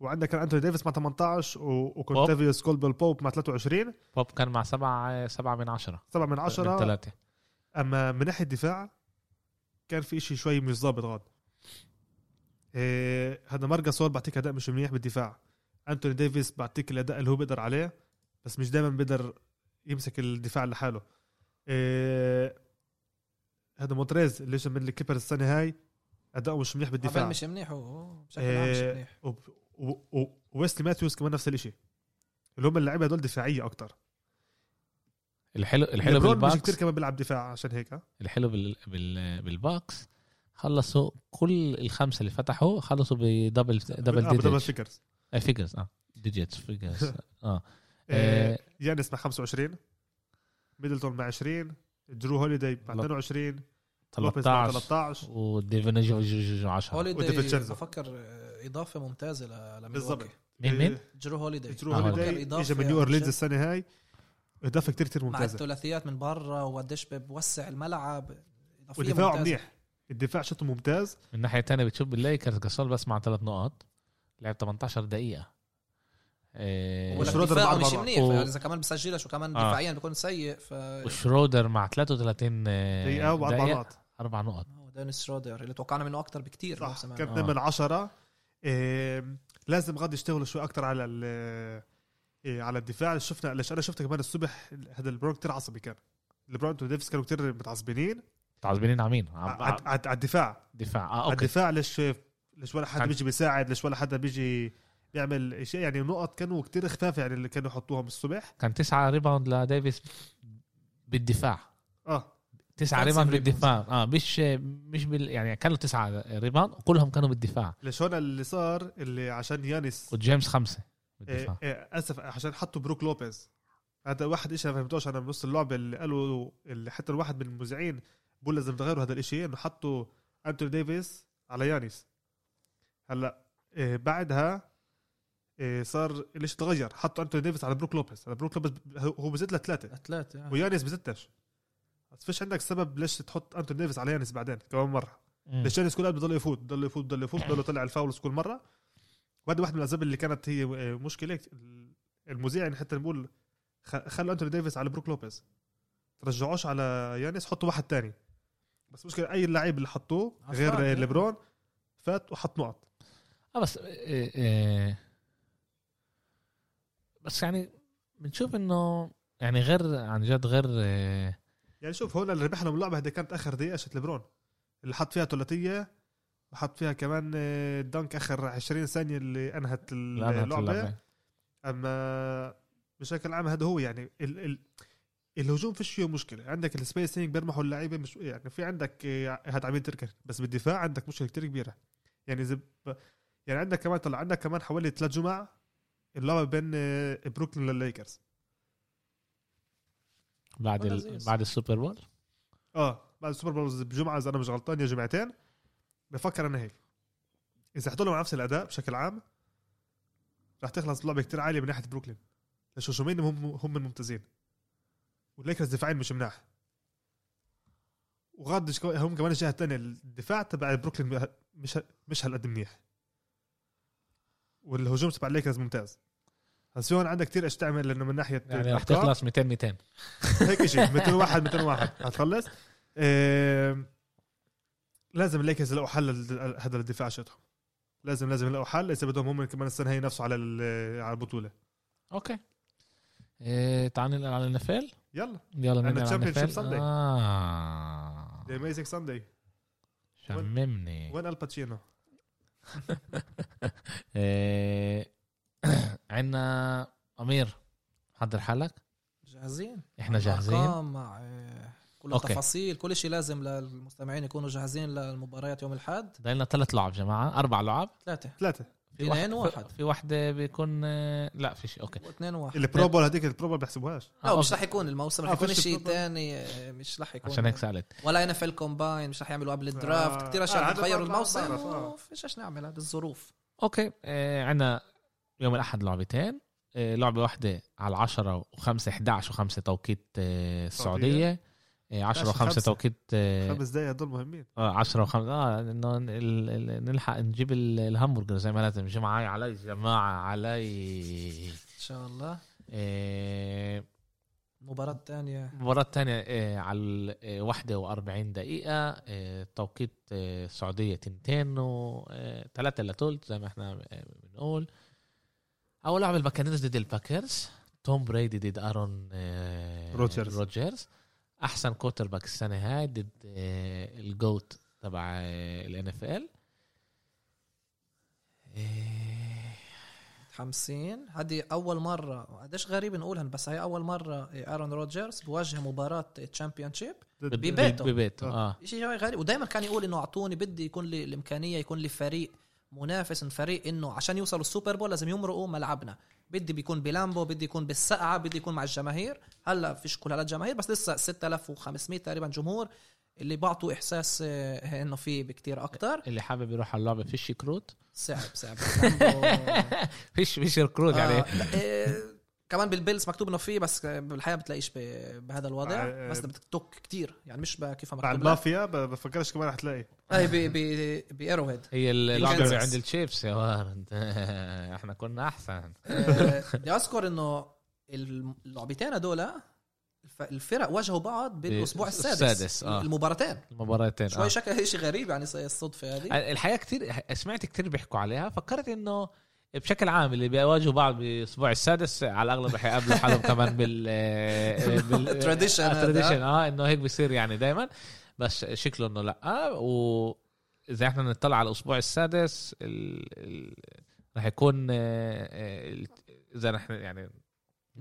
وعندك كان انتوني ديفيس مع 18 و-
بوب.
وكونتافيوس كولبل بوب مع 23
بوب كان مع سبعة آه، سبعة من عشرة
7 من
من
10
ثلاثة
اما من ناحيه الدفاع كان في شيء شوي مش ظابط غاد إيه، هذا مرقص سول بعطيك اداء مش منيح بالدفاع انتوني ديفيس بعطيك الاداء اللي هو بيقدر عليه بس مش دائما بيقدر يمسك الدفاع لحاله إيه، هذا مونتريز اللي جا من الكيبر السنه هاي اداؤه مش منيح
عبال
بالدفاع
مش آه، منيح هو بشكل عام مش
إيه،
منيح
وب- و- و- وويسلي ماثيوس كمان نفس الشيء اللي هم اللعيبه هدول دفاعيه اكتر
الحلو الحلو
ليبرون مش كتير
بالباكس
كمان بيلعب دفاع عشان هيك آه.
الحلو بال... بال... بالباكس خلصوا كل الخمسه اللي فتحوا خلصوا بدبل
آه،
دبل
بدبل
ديجيتس
فيجرز
آه فيجرز اه ديجيتس فيجرز اه
آه،
آه،
يانس مع 25 ميدلتون مع 20 درو هوليداي مع
لا.
22 لوبيز مع
13
13
وديفن 10
هوليداي
وديفيتشينزو.
بفكر آه، اضافه ممتازه ل- لميلواكي
بالضبط
مين مين؟
آه،
جرو هوليداي
درو
آه، هوليداي.
بفكر
هوليداي
إضافة
اجى من نيو اورلينز
عشان-
السنه هاي اضافه كتير كتير
مع
ممتازه
الثلاثيات من برا وقديش بوسع الملعب إضافية
ودفاعه
ممتازة.
منيح الدفاع شوطه ممتاز
من الناحيه الثانيه بتشوف الليكرز gasol بس مع ثلاث نقاط لعب 18 دقيقه إيه،
ولا-
ولك
وشرودر
دفاعه
بعد
مش
مرة.
منيح
و-
اذا كمان بسجلش وكمان
آه.
دفاعيا بيكون سيء ف
وشرودر مع 33
دقيقه واربع
آه، دقيقة،
نقط
اربع نقط
هو دينيس شرودر اللي توقعنا منه اكثر بكثير
صح
الموسم هذا.
كان
آه.
من عشرة إيه لازم غاد يشتغلوا شوي اكثر على ال- إيه على الدفاع شفنا ليش انا شفت كمان الصبح هذا البرون كثير عصبي كان البرون وديفيس كانوا كثير متعصبين
متعصبين على مين؟
على
على على
على- على الدفاع
الدفاع اه
على
اوكي
الدفاع ليش ليش ولا حدا
عن-
بيجي بيساعد ليش ولا حدا بيجي بيعمل شيء يعني النقط كانوا كثير خفاف يعني اللي كانوا يحطوهم الصبح
كان تسعة ريباوند لديفيس بالدفاع
اه
تسعة
Offensive
ريباوند
rebounds.
بالدفاع اه مش مش بال يعني كانوا تسعة ريباوند وكلهم كانوا بالدفاع
ليش هون اللي صار اللي عشان يانس
وجيمس خمسة بالدفاع
إيه إيه اسف عشان حطوا بروك لوبيز هذا واحد شيء ما فهمتوش انا بنص اللعبه اللي قالوا اللي حتى الواحد من المذيعين بقول لازم تغيروا هذا الشيء انه حطوا انتوني ديفيس على يانيس هلا إيه بعدها إيه صار الشيء تغير حطوا انتوني ديفيس على بروك لوبيز هلا بروك لوبيز ب- هو هو بزت لثلاثه
اتلتي آه.
ويانيس بزتش بس فيش عندك سبب ليش تحط انتوني ديفيس على يانيس بعدين كمان مره
مم.
ليش يانس كل قد بضل يفوت بضل يفوت بضل يفوت بضل يطلع الفاولز كل مره وهذا واحد من الاسباب اللي كانت هي مشكله المذيع يعني حتى نقول خ- خلوا انتوني ديفيس على بروك لوبيز ترجعوش على يانس حطوا واحد تاني بس مشكله اي لعيب اللي حطوه
عشان،
غير
إيه.
ليبرون فات وحط نقط
اه بس إيه إيه بس يعني بنشوف انه يعني غير عن جد غير إيه
يعني شوف هون اللي ربحنا باللعبه هذه كانت اخر دقيقه شت ليبرون اللي حط فيها ثلاثيه وحط فيها كمان آه، دنك اخر 20 ثانيه اللي انهت
لا، لا،
اللعبه
اللعبة. يعني؟
اما آه، بشكل عام هذا هو يعني ال ال الهجوم فيش فيه مشكله عندك السبيسينج بيرمحوا اللعيبه مش يعني في عندك آه، هاد عم تركن بس بالدفاع عندك مشكله كتير كبيره يعني اذا ب- يعني عندك كمان طلع عندك كمان حوالي ثلاث جمع اللعبه بين آه، بروكلين للليكرز
بعد
ولا
ال-
زي-
بعد السوبر بول
اه بعد السوبر بول بجمعه اذا انا مش غلطان يا جمعتين بفكر انا هيك اذا حطوا لهم نفس الاداء بشكل عام رح تخلص اللعبه كتير عاليه من ناحيه بروكلين الشوشومين هم هم الممتازين والليكرز دفاعين مش مناح وغاد شكو- هم كمان الجهه الثانيه الدفاع تبع بروكلين مش مش هالقد منيح والهجوم تبع الليكرز ممتاز هسه هون عندك كثير ايش تعمل لانه من ناحيه
يعني رح
الأرقام-
تخلص 200 200
هيك شيء 201 201 هتخلص آم، إيه، لازم الليكرز يلاقوا حل لل- هذا الدفاع شتهم لازم لازم يلاقوا حل اذا بدهم هم كمان السنه هي نفسه على ال- على البطوله
اوكي إيه تعال ننقل على النفل
يلا
يلا
عندنا
ننقل على
Championship
النفل
Sunday.
اه
ذا اميزنج ساندي
شممني
وين الباتشينو؟
إيه عندنا امير حضر حالك
جاهزين
احنا جاهزين
أرقام مع آه، كل
أوكي.
التفاصيل كل شيء لازم للمستمعين يكونوا جاهزين للمباريات يوم الاحد
ضايلنا ثلاث لعب جماعه اربع لعب
ثلاثه
ثلاثه
في
اثنين
واحد
واحد.
في واحده بيكون آه، لا في شيء اوكي
واثنين واحد
البرو بول هذيك البرو بول بحسبوهاش
آه،
لا مش
أوكي.
رح يكون الموسم رح
آه،
يكون
فيش
شيء
بروبلم.
ثاني مش رح يكون
عشان هيك سالت
ولا ان اف ال كومباين مش رح يعملوا قبل الدرافت
آه.
كثير
آه،
اشياء
هذا
بتغير
بعرف-
الموسم
بعرف، آه.
وفيش ايش نعمل هذا الظروف
اوكي آه عندنا يوم الاحد لعبتين آه لعبه واحده على 10 و5 11 و5 توقيت آه السعوديه آه 10 و5
خمسة.
توقيت آه
خمس دقائق هدول مهمين
آه، 10 و5 اه انه ال- ال- نلحق نجيب ال- الهمبرجر زي ما لازم جماعه علي جماعه علي
ان شاء الله
آه،
مباراة ثانية
المباراة الثانية آه، على آه، واحدة وأربعين دقيقة آه، توقيت آه، السعودية تنتين آه، وثلاثة لتولت زي ما احنا آه، بنقول أول لعبة الباكانيرز ضد الباكرز توم بريدي ضد أرون آه،
روجرز.
روجرز أحسن كوتر باك السنة هاي ضد آه، الجوت تبع الان اف ال
متحمسين هذه أول مرة قديش غريب نقولها بس هي أول مرة آه، آرون روجرز بواجه مباراة تشامبيون شيب ببيته.
ببيته اه
شيء غريب ودائما كان يقول إنه أعطوني بدي يكون لي الإمكانية يكون لي فريق منافس إن فريق إنه عشان يوصلوا السوبر بول لازم يمرقوا ملعبنا بدي بيكون بلامبو بدي يكون بالسقعة بدي يكون مع الجماهير هلا فيش كل هلا جماهير بس لسه 6500 تقريبا جمهور اللي بعطوا إحساس آه، إنه في بكتير أكتر
اللي حابب يروح على اللعبة فيش كروت
صعب صعب لامبو
فيش فيش كروت يعني
آه، لا، إيه، كمان بالبيلز مكتوب انه في بس بالحياه بتلاقيش ب- بهذا الوضع
آه،
بس بدك توك كتير يعني مش ب- كيف
مع
مكتوب لا.
المافيا ب- بفكرش كمان رح تلاقي
اي ب- ب- بايرو هيد
هي ال-
بالكنساس.
اللعبه عند الشيبس يا وارد احنا كنا احسن
آه، بدي اذكر انه اللعبتين هدول الف- الفرق واجهوا بعض بالاسبوع
بالس-
السادس,
السادس، آه. آه،
المباراتين
المباراتين
شوي
آه.
شكلها شيء غريب يعني الصدفه هذه
الحقيقه كثير سمعت كثير بيحكوا عليها فكرت انه بشكل عام اللي بيواجهوا بعض بالاسبوع السادس على الاغلب رح يقابلوا حالهم كمان بال آه، بال
Tradition هذا.
tradition، اه انه هيك بيصير يعني دائما بس شكله انه لا و اذا احنا نطلع على الاسبوع السادس ال... ال... رح يكون آه، آه، ال- اذا نحن يعني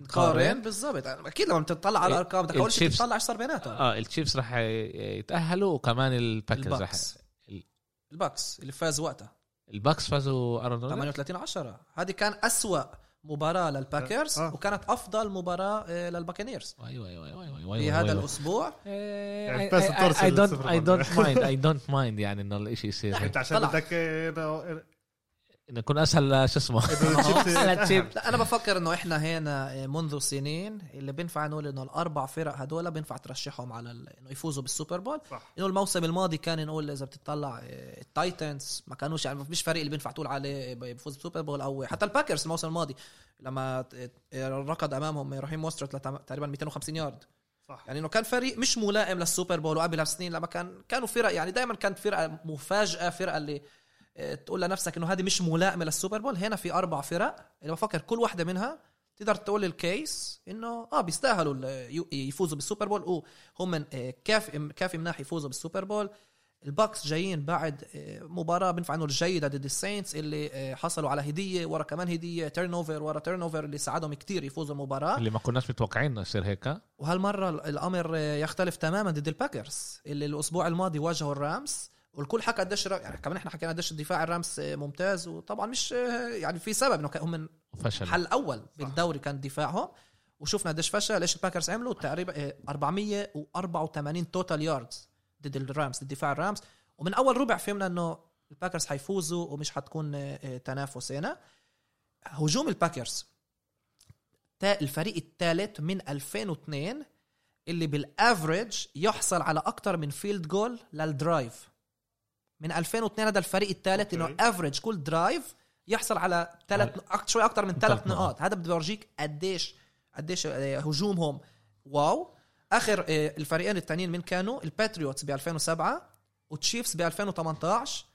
قارن بالضبط يعني اكيد لما بتطلع على الارقام بدك اول شيء
الشيفز.
تطلع ايش صار بيناتهم
اه التشيفز رح يتاهلوا وكمان الباكرز رح
الباكس
ال-
الباكس اللي فاز وقتها
الباكس فازوا ارنولد
38 10 هذه كان أسوأ مباراة للباكرز
آه.
وكانت أفضل مباراة آه، للباكنيرز
ايوه ايوه ايوه ايوه
في
أيوة،
هذا يعني
أيوة.
الأسبوع
اي
إيه، يعني بس الطرس
اي
اللي
دونت
صفر
اي دونت
مرة.
مايند اي دونت مايند يعني انه الاشي يصير هيك.
انت عشان
طلع.
بدك إيه، إنه-
انه يكون اسهل
آه،
ل- شو اسمه
إنه الشيبس
أسهل تشيب.
أهم.
طيب، لا أنا بفكر إنه إحنا هنا آه، منذ سنين اللي بينفع نقول إنه الأربع فرق هدول بينفع ترشحهم على ال- إنه يفوزوا بالسوبر بول
صح.
إنه الموسم الماضي كان نقول إذا بتطلع آه، التايتنز ما كانوش يعني مش فريق اللي بينفع تقول عليه بيفوز بالسوبر بول أو حتى الباكرز الموسم الماضي لما آه، آه، ركض أمامهم رحيم موسترت تقريبا 250 يارد
صح
يعني انه كان فريق مش ملائم للسوبر بول وقبلها بسنين لما كان كانوا فرق يعني دائما كانت فرقه مفاجاه فرقه اللي آه، تقول لنفسك انه هذه مش ملائمه للسوبر بول هنا في اربع فرق اللي بفكر كل واحده منها تقدر تقول الكيس انه اه بيستاهلوا ال- يو- يفوزوا بالسوبر بول وهم من- آه، كافي كافي مناح يفوزوا بالسوبر بول الباكس جايين بعد آه، مباراه بنفع نقول جيده ضد الساينتس اللي آه، حصلوا على هديه ورا كمان هديه تيرن اوفر ورا تيرن اوفر اللي ساعدهم كتير يفوزوا المباراه
اللي ما كناش متوقعين انه يصير هيك ها؟
وهالمرة الأمر يختلف تماما ضد الباكرز اللي الأسبوع الماضي واجهوا الرامز والكل حكى قديش را- يعني كمان احنا حكينا قديش دفاع الرامز ممتاز وطبعا مش يعني في سبب انه كان- هم من
وفشل
الحل الاول بالدوري كان دفاعهم وشفنا قديش فشل ايش الباكرز عملوا آه، تقريبا 484 توتال ياردز ضد الرامز ضد دفاع الرامز ومن اول ربع فهمنا انه الباكرز حيفوزوا ومش حتكون آه، آه، تنافس هنا هجوم الباكرز تا- الفريق الثالث من 2002 اللي بالافريج يحصل على اكثر من فيلد جول للدرايف من 2002 هذا الفريق الثالث انه
أوكي.
افريج كل درايف يحصل على ثلاث شوي اكثر من
ثلاث
ثلاث نقاط هذا بده يورجيك قديش قديش آه، هجومهم واو اخر آه، الفريقين التانيين من كانوا الباتريوتس ب 2007 وتشيفز ب 2018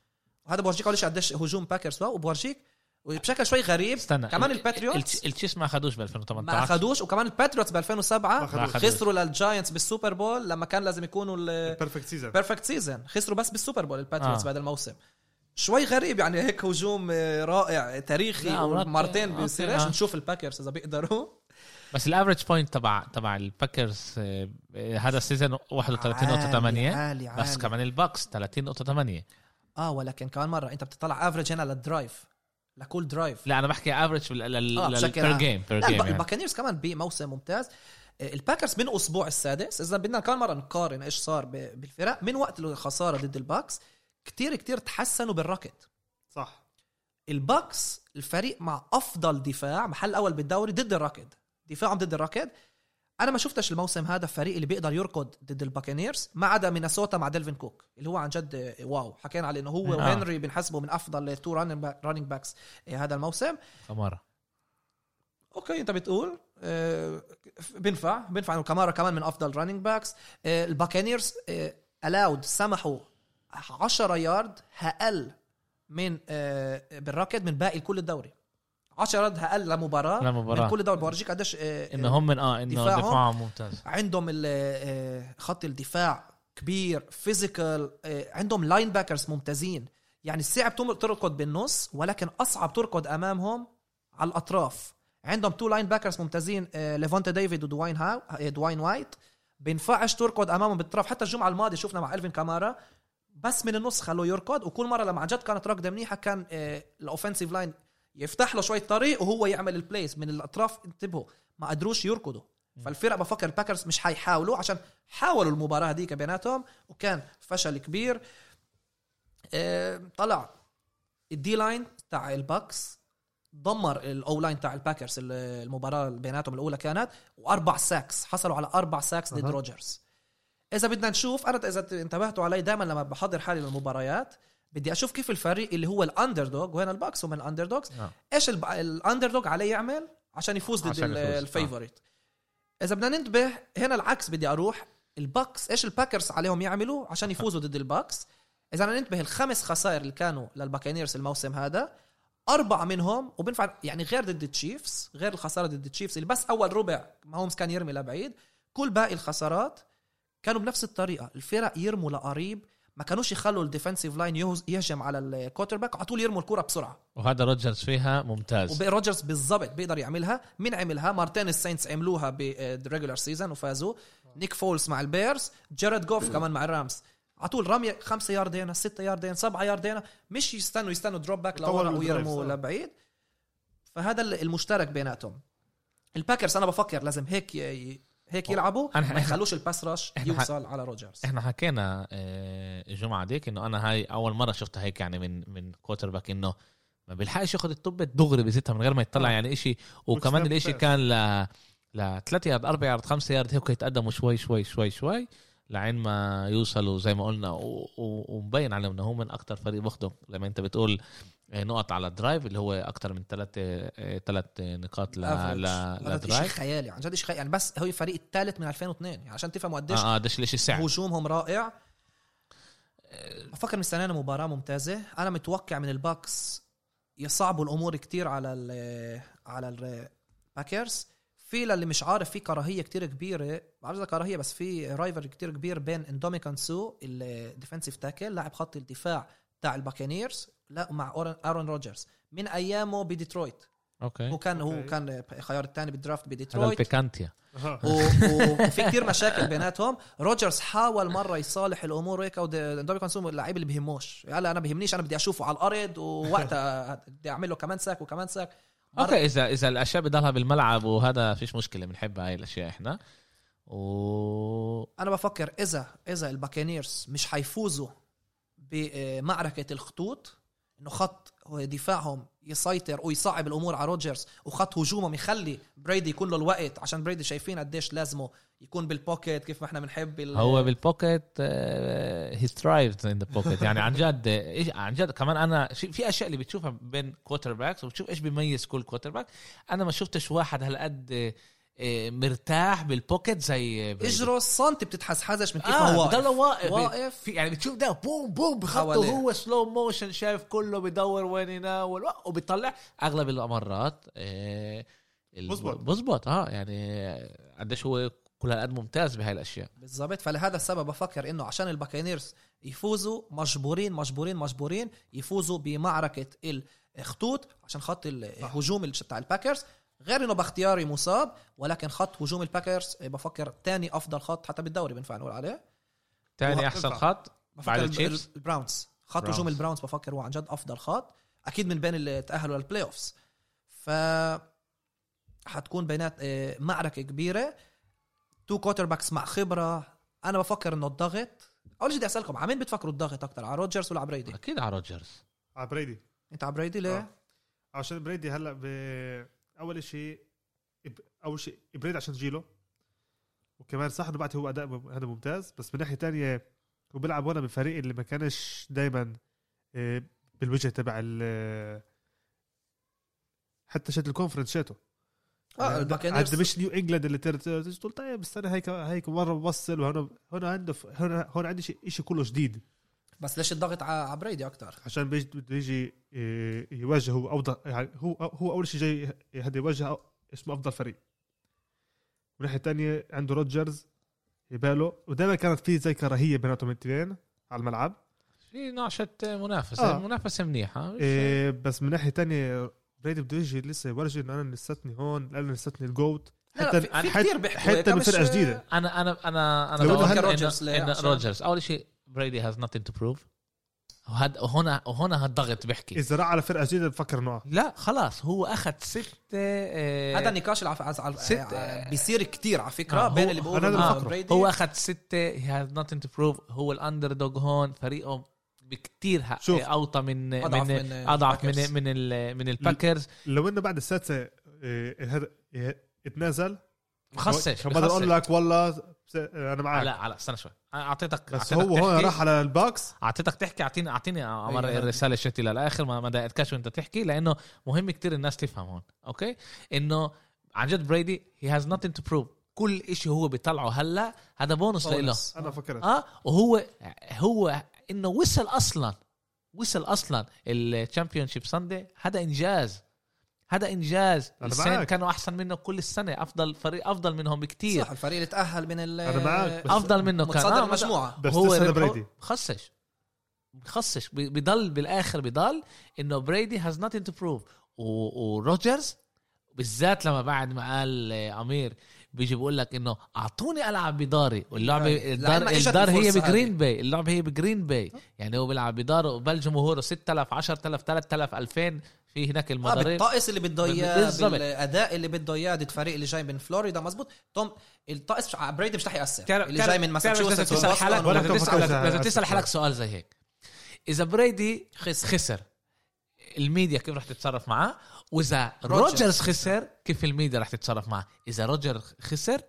وهذا بورجيك اول شيء قديش هجوم باكرز واو وبورجيك وبشكل شوي غريب
استنى
كمان
ال-
الباتريوتس
التش- التشيس ما اخذوش ب
ما
2018
اخذوش وكمان الباتريوتس ب 2007
ما أخدوش.
خسروا للجاينتس بالسوبر بول لما كان لازم يكونوا
بيرفكت سيزون
البيرفكت سيزون خسروا بس بالسوبر بول الباتريوتس
آه.
آه. بعد الموسم شوي غريب يعني هيك هجوم آه، رائع تاريخي
لا، مرات-
ومرتين
آه،
بيصيرش
آه.
نشوف الباكرز اذا بيقدروا
بس الافرج بوينت تبع تبع الباكرز آه، آه، هذا السيزون 31.8
عالي عالي
بس كمان الباكس 30.8
اه ولكن كمان مره انت بتطلع افرج هنا للدرايف لكل درايف
لا يعني. انا بحكي افرج
آه، بشكل
بير
عام.
جيم بير
لا الب-
جيم
الباكانيرز كمان بموسم ممتاز آه، الباكرز من اسبوع السادس اذا بدنا كمان مره نقارن ايش صار ب- بالفرق من وقت الخساره ضد الباكس كتير كتير تحسنوا بالركض
صح
الباكس الفريق مع افضل دفاع محل اول بالدوري ضد الركض دفاعهم ضد الركض انا ما شفتش الموسم هذا فريق اللي بيقدر يركض ضد الباكانيرز ما عدا مينيسوتا مع ديلفين كوك اللي هو عن جد آه، واو حكينا عليه انه هو
آه.
وهنري بنحسبه من افضل تو رانينج باكس آه، هذا الموسم
كمارا
اوكي انت بتقول آه، بينفع بينفع انه كمارا كمان من افضل رانينج باكس آه، الباكانيرز آه، الاود سمحوا 10 يارد اقل من آه، بالراكد من باقي كل الدوري 10 يارد اقل لمباراه
لمباراه
من كل الدوري بورجيك قديش آه،
انه هم من اه انه
دفاعهم.
دفاعهم ممتاز
عندهم ال- آه، خط الدفاع كبير فيزيكال عندهم لاين باكرز ممتازين يعني صعب تم- تركض بالنص ولكن اصعب تركض امامهم على الاطراف عندهم تو لاين باكرز ممتازين آه، ليفونتا ديفيد ودواين هاو آه، دواين وايت بينفعش تركض امامهم بالاطراف حتى الجمعه الماضيه شفنا مع الفين كامارا بس من النص خلوه يركض وكل مره لما عن جد كانت ركضه منيحه كان آه، الاوفنسيف لاين يفتح له شويه طريق وهو يعمل البلايز من الاطراف انتبهوا ما قدروش يركضوا فالفرق بفكر الباكرز مش حيحاولوا عشان حاولوا المباراه هذيك بيناتهم وكان فشل كبير آه، طلع الدي لاين تاع الباكس دمر الاو لاين تاع الباكرز ال- المباراه اللي بيناتهم الاولى كانت واربع ساكس حصلوا على اربع ساكس ضد
أها.
روجرز اذا بدنا نشوف انا اذا انتبهتوا علي دائما لما بحضر حالي للمباريات بدي اشوف كيف الفريق اللي هو الاندر دوغ وين الباكس هم الاندر دوغز
آه.
ايش الاندر دوغ عليه يعمل عشان يفوز ضد
عشان يفوز. آه.
الفيفوريت اذا بدنا ننتبه هنا العكس بدي اروح الباكس ايش الباكرز عليهم يعملوا عشان يفوزوا ضد الباكس اذا بدنا ننتبه الخمس خسائر اللي كانوا للباكانيرز الموسم هذا أربعة منهم وبنفع يعني غير ضد التشيفز غير الخسارة ضد التشيفز اللي بس أول ربع ماهومز كان يرمي لبعيد كل باقي الخسارات كانوا بنفس الطريقة الفرق يرموا لقريب ما كانوش يخلوا الديفنسيف لاين يهجم على الكوتر باك على طول يرموا الكرة بسرعة
وهذا روجرز فيها ممتاز
وروجرز بالضبط بيقدر يعملها مين عملها مارتين الساينتس عملوها بالريجولار سيزون وفازوا نيك فولز مع البيرز جارد جوف كمان مع الرامز على طول رمية خمسة ياردين ستة ياردين سبعة ياردين مش يستنوا يستنوا دروب باك
يطولوا
لورا
ال drives،
ويرموا
آه.
لبعيد فهذا ال- المشترك بيناتهم الباكرز انا بفكر لازم هيك ي- هيك يلعبوا
أنا-
ما يخلوش الباس رش
إحنا-
يوصل على روجرز
احنا حكينا آه، الجمعه ديك انه انا هاي اول مره شفتها هيك يعني من من كوتر باك انه ما بيلحقش ياخذ الطبه دغري بيزتها من غير ما يطلع يعني إشي وكمان
Which makes
الإشي
sense.
كان ل ل 3 يارد 4 يارد 5 يارد هيك يتقدموا شوي شوي شوي شوي لعين ما يوصلوا زي ما قلنا و- و- ومبين عليهم انه هو من اكثر فريق باخده لما انت بتقول آه، نقط على الدرايف اللي هو اكثر من ثلاث ثلاث نقاط ل ل
هذا شيء
لدرايف
خيالي عن جد شيء خيالي يعني بس هو الفريق الثالث من 2002 يعني عشان تفهموا قديش
اه اه ده الشيء السعر
هجومهم رائع بفكر مستنينا مباراة ممتازة أنا متوقع من الباكس يصعبوا الأمور كتير على ال على الباكرز في للي مش عارف في كراهية كتير كبيرة بعرف إذا كراهية بس في رايفر كتير كبير بين اندوميكان سو الديفنسيف تاكل لاعب خط الدفاع تاع الباكانيرز لا مع أورن- ارون روجرز من ايامه بديترويت
اوكي
هو كان هو
أوكي.
كان الخيار الثاني بالدرافت
هذا
بديترويت
البيكانتيا
أها.
و- و- وفي كتير مشاكل بيناتهم روجرز حاول مره يصالح الامور هيك ودومينيك كونسوم اللعيب اللي بهموش يلا انا بهمنيش انا بدي اشوفه على الارض ووقتها بدي اعمل له كمان ساك وكمان ساك مرة-
اوكي اذا اذا الاشياء بضلها بالملعب وهذا فيش مشكله بنحب هاي الاشياء احنا و
انا بفكر اذا اذا الباكانيرز مش حيفوزوا بمعركه الخطوط انه خط دفاعهم يسيطر ويصعب الامور على روجرز وخط هجومهم يخلي بريدي يكون له الوقت عشان بريدي شايفين قديش لازمه يكون بالبوكيت كيف ما احنا بنحب ال-
هو آه، بالبوكيت هي ثرايفز ان ذا بوكيت يعني عن جد آه، إيش- عن جد كمان انا شي- في اشياء اللي بتشوفها بين كوتر باكس وبتشوف ايش بيميز كل كوتر باك انا ما شفتش واحد هالقد آه، آه، مرتاح بالبوكيت زي بريدي.
اجره السنتي بتتحزحزش من كيف ما
اه
هو
هو
واقف.
بضل واقف
آه، واقف.
في يعني بتشوف ده بوم بوم بخطه
حواليه.
هو سلو موشن شايف كله بدور وين يناول وبيطلع اغلب المرات آه، ال-
بزبط.
بزبط اه يعني قديش هو كل هالقد ممتاز بهاي الاشياء
بالظبط فلهذا السبب بفكر انه عشان الباكانيرز يفوزوا مجبورين مجبورين مجبورين يفوزوا بمعركه الخطوط عشان خط الهجوم اللي بتاع الباكرز غير انه باختياري مصاب ولكن خط هجوم الباكرز بفكر تاني افضل خط حتى بالدوري بينفع نقول عليه
تاني
وه-
احسن
ينفع.
خط بعد
بفكر ال-
التشيفز
ال- البراونز خط
براونز.
هجوم البراونز بفكر هو عن جد افضل خط اكيد من بين اللي تاهلوا للبلاي اوفز ف حتكون بينات آه، معركه كبيره تو كوتر باكس مع خبره انا بفكر انه الضغط اول شيء بدي اسالكم على مين بتفكروا الضغط اكثر على روجرز ولا على بريدي
اكيد على روجرز
على بريدي
انت على بريدي
آه.
ليه
عشان بريدي هلا ب... اول شيء إب- اول شيء بريدي عشان جيله وكمان صح انه بعد هو اداء مم- هذا ممتاز بس من ناحيه تانية هو بيلعب هون بفريق اللي ما كانش دائما بالوجه تبع ال حتى شات الكونفرنس شاته آه، يعني
اه
عاد
الباكانيرز
مش نيو انجلاند اللي تر- تر- تقول طيب استنى هيك هيك مره بوصل وهنا هنا عنده ف- هنا هون عندي شيء شيء كله جديد
بس ليش الضغط على على بريدي اكثر
عشان بيجي بده يجي إيه، يواجه هو اوضح يعني هو هو اول شيء جاي هذا يواجه اسمه افضل فريق من الناحيه الثانيه عنده روجرز يباله ودائما كانت في زي كراهيه بيناتهم الاثنين على الملعب
في نعشة منافسة
آه.
منافسة منيحة
إيه بس من ناحيه ثانيه بريدي بده يجي لسه يورجي انه انا لساتني هون الا لساتني الجوت
لا، لا، في- في
حتى-
كتير بيحكوا هيك،
حتى
مش-
بفرقه جديده
انا انا انا انا
لو إنه
بفكر
هلا
إنه-
روجرز ليه
إنه
عشان-
روجرز اول شيء بريدي هاز nothing تو بروف وهنا وهنا هالضغط بيحكي
اذا راح على فرقه جديده بفكر انه آه.
لا خلاص هو اخذ ستة آه،
هذا النقاش العف... على...
ست-
على... آه، بيصير كتير على فكره
آه، هو-
بين اللي
أنا
بيقولوا
اللي
إنه
بفكره.
بريدي
هو اخذ ستة he has nothing to prove هو الاندر دوغ هون فريقه بكتير حق-
شوف.
اوطى من
أضعف
من
من
اضعف
الباكرز.
من من ال- من الباكرز
لو انه بعد السادسه إيه، هذا إيه، اتنازل
بخصش
كان بقدر اقول
بخصش
لك والله س- انا معك
لا لا استنى شوي أنا اعطيتك
بس
أعطيتك
هو هون
تحكي.
راح على الباكس
اعطيتك تحكي اعطيني اعطيني امر
أيوة.
الرساله شتي للاخر ما ما ضايقتكش وانت تحكي لانه مهم كتير الناس تفهم هون اوكي انه عن جد بريدي هي هاز nothing تو بروف كل إشي هو بيطلعه هلا هذا بونص لإله
بونص.
انا فكرت
اه وهو هو انه وصل اصلا وصل اصلا الشامبيون شيب ساندي هذا انجاز هذا انجاز
أنا
السنه
معك.
كانوا احسن منه كل السنه افضل فريق افضل منهم بكتير
صح الفريق اللي تاهل من ال
أنا معك، بس-
افضل منه كان
متصدر
آه،
المجموعه
بس
هو
تسأل
ربحه-
بريدي.
خصش خصش بي- بضل بالاخر بضل انه بريدي هاز nothing تو بروف وروجرز بالذات لما بعد ما قال آه، امير بيجي بيقول لك انه اعطوني العب بداري واللعبه
أي.
الدار,
لأنها إجت
الدار هي
الفرصة
بجرين باي اللعبه هي بجرين باي يعني هو بيلعب بداره وبال جمهوره 6000 10000 3000 2000 في هناك
آه
المدرب
بالطقس اللي بده اياه
بالضبط.
بالاداء اللي بده اياه ضد فريق اللي جاي من فلوريدا مزبوط توم الطقس مش- بريدي مش رح ياثر
بتعرف-
اللي
بتعرف-
جاي من
بتعرف لازم
ماساتشوستس
تسال حالك
ولا
لازم
كنت
تسال
بفكر
لازم
إذا-
تسال حالك سؤال زي هيك اذا بريدي
خسر.
خسر الميديا كيف رح تتصرف معاه واذا
روجرز
روجرز خسر كيف الميديا رح تتصرف معاه اذا روجر خسر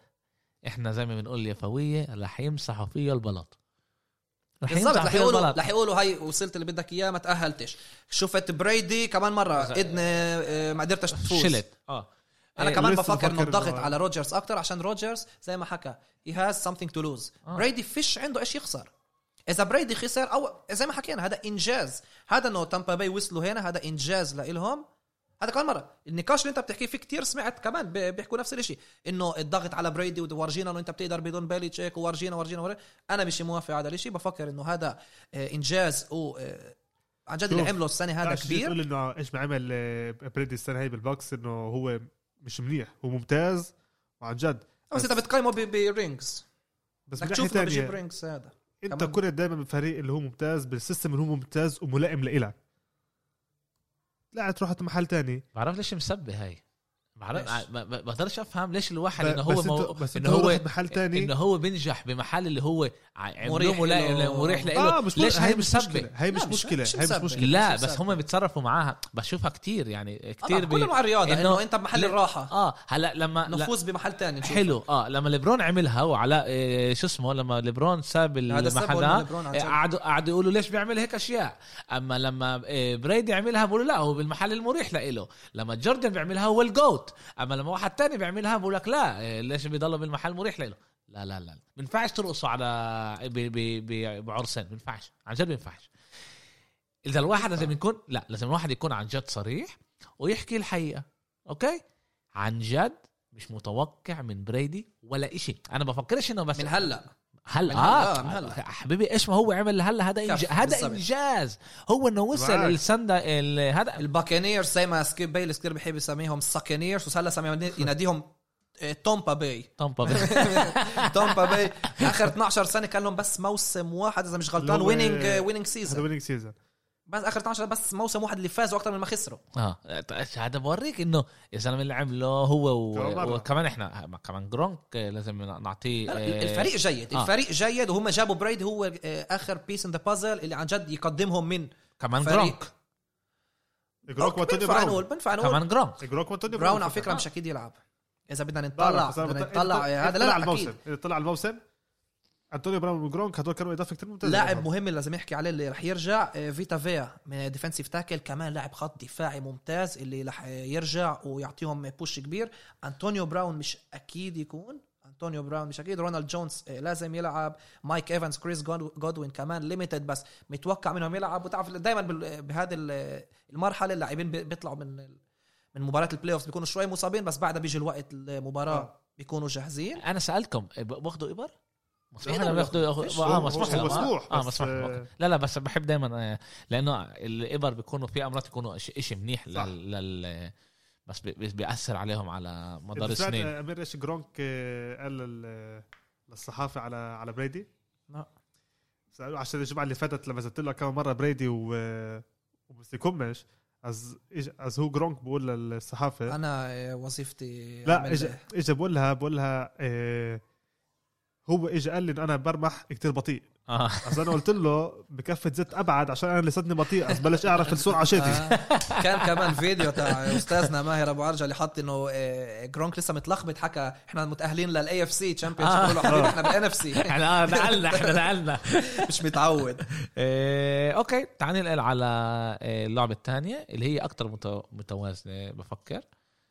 احنا زي ما بنقول اليفويه رح يمسحوا فيه البلاط رح
بالضبط
يمسحوا
رح
فيه
يقولوا
البلاط
رح يقولوا هاي وصلت اللي بدك اياه ما تاهلتش شفت بريدي كمان مره
إذا-
اذن آه، ما قدرتش تفوز
شلت اه
انا
إيه،
كمان
لسه
بفكر انه
بفكر
الضغط
إنه-
على روجرز اكتر عشان روجرز زي ما حكى هي هاز something تو لوز
آه.
بريدي فيش عنده ايش يخسر اذا بريدي خسر او زي ما حكينا هذا انجاز هذا انه تامبا باي وصلوا هنا هذا انجاز لإلهم هذا كمان مره النقاش اللي انت بتحكيه فيه كتير سمعت كمان ب- بيحكوا نفس الشيء انه الضغط على بريدي وورجينا انه انت بتقدر بدون بالي تشيك وورجينا ورجينا ورجينا انا مش موافق على الشيء بفكر انه هذا آه، انجاز و آه، عن جد اللي
شوف،
عمله السنه هذا
تعرف شو بدي
كبير
تقول انه ايش ما عمل آه، بريدي السنه هاي بالباكس انه هو مش منيح هو ممتاز وعن جد
بس انت بتقيمه ب- برينجز
بس من
بدك
ناحيه
تشوف انه بيجيب
ثانيه
رينجز هذا
انت
كمان.
كنت دائما بفريق اللي هو ممتاز بالسيستم اللي هو ممتاز وملائم لإلك لا تروح على محل تاني
بعرف ليش مسبه هاي بعرف
ليش؟
ما ما- بقدرش افهم ليش الواحد
ب-
انه هو
بس
مو...
انت- بس
انه
انت
هو
رحت محل تاني.
انه هو بينجح بمحل اللي هو ع- عمله
مريح
ملائم
له.
مريح لإله
اه مش
ليش هاي
هي مش
مسبه
مشكله هي
لا،
مش
مش-
مشكله
مش
هي مش
مسبة.
مشكله
لا
مش
بس هم
مسبة.
بيتصرفوا معاها بشوفها كتير يعني كتير
طبعا كله مع الرياضه
إنه-
انه, انت بمحل
لا-
الراحه
اه هلا لما لا-
نفوز بمحل تاني نشوف.
حلو اه لما ليبرون عملها وعلاء إيه، شو اسمه لما ليبرون ساب
هذا السبب
المحل
إنه
ده،
ليبرون عن
إيه،
جد.
قعدوا قعدوا يقولوا ليش بيعمل هيك اشياء اما لما إيه، بريدي عملها بقولوا لا هو بالمحل المريح لإله لما جوردن بيعملها هو الجوت اما لما واحد تاني بيعملها بقول لك لا إيه، ليش بيضلوا بالمحل المريح لإله لا لا لا بينفعش ترقصوا على ب- ب- ب- بعرسين بينفعش عن جد بينفعش اذا الواحد لازم يكون لا لازم الواحد يكون عن جد صريح ويحكي الحقيقه اوكي عن جد مش متوقع من بريدي ولا إشي انا بفكرش انه بس
من هلا
هل
من
اه
هلا، من هلا.
حبيبي ايش ما هو عمل هلا هذا إنج...
كف،
هذا
بالظبط.
انجاز هو انه وصل
معك.
السندا ال- هذا
الباكانيرز زي ما سكيب بيلس كثير بحب يسميهم الساكانيرز وهلا سمي يناديهم آه، تومبا باي
طنطا
تومبا باي اخر 12 سنه كان لهم بس موسم واحد اذا مش غلطان
اللي هو-
ويننج ويننج
هذا
سيزون
ويننج سيزون
بس اخر 12 بس موسم واحد اللي فازوا اكثر من ما خسروا
اه هذا بوريك انه يا زلمه اللي عمله هو
كمان مرة.
و... وكمان احنا ما- كمان جرونك لازم نعطيه
لا،
آه،
الفريق جيد
آه.
الفريق جيد وهم جابوا بريد هو آه، اخر بيس ان ذا بازل اللي عن جد يقدمهم من
كمان
فريق.
جرونك
جروك وانتوني
بنفع نقول
براون
بنفع نقول
كمان جرونك
جروك وانتوني
براون على فكره
آه،
مش اكيد يلعب اذا بدنا نطلع
بعرف، بس أنا
بدنا
بط-
نطلع
إذا-
هذا لا
إذا طلع
لا
على
الموسم
الموسم اذا طلع على الموسم انتوني براون وجرونك هدول كانوا اضافه كثير ممتازه
لاعب
لهم.
مهم اللي لازم يحكي عليه اللي رح يرجع آه، فيتا فيا من ديفنسيف تاكل كمان لاعب خط دفاعي ممتاز اللي رح يرجع ويعطيهم بوش كبير انطونيو براون مش اكيد يكون انطونيو براون مش اكيد رونالد جونز آه، لازم يلعب مايك ايفانز كريس جون- جودوين كمان ليميتد بس متوقع منهم يلعب وتعرف دائما بهذه ال- المرحله اللاعبين بي- بيطلعوا من ال- من مباراه البلاي اوف بيكونوا شوي مصابين بس بعدها بيجي الوقت المباراه
آه.
بيكونوا جاهزين
انا سالكم ب- باخذوا ابر؟ مسموح
إبر
لهم ياخذوا
فيش.
اه
هو-
مسموح
هو
لهم آه.
مسموح،
اه
بس،
مسموح لهم.
آه،
أوكي. لا لا بس بحب دائما لانه الابر بيكونوا في امراض يكونوا شيء منيح
صح.
لل, لل بس بي- بي- بياثر عليهم على
إذا
مدار
سمعت
سنين
امير ايش جرونك آه، قال لل- للصحافه على على بريدي
لا.
سالوه عشان الجمعه اللي فاتت لما زدت له كم مره بريدي و آه، وبس يكمش از إج- از هو جرونك بقول للصحافه
انا آه، وظيفتي
لا
أعمل-
اجى اجى بقول لها بقول لها آه هو اجى قال لي إن انا برمح كتير بطيء
اه
بس انا قلت له بكفة زيت ابعد عشان انا لساتني بطيء بس بلش اعرف السرعه شتي
آه. كان كمان فيديو تاع استاذنا ماهر ابو عرجه اللي حط انه آه، جرونك لسه متلخبط حكى احنا متاهلين للاي اف سي تشامبيونز
آه.
حبيبي احنا بالان اف سي
احنا آه، نقلنا احنا نقلنا
مش متعود
إيه، اوكي تعال ننقل على إيه، اللعبه الثانيه اللي هي اكثر متوازنه بفكر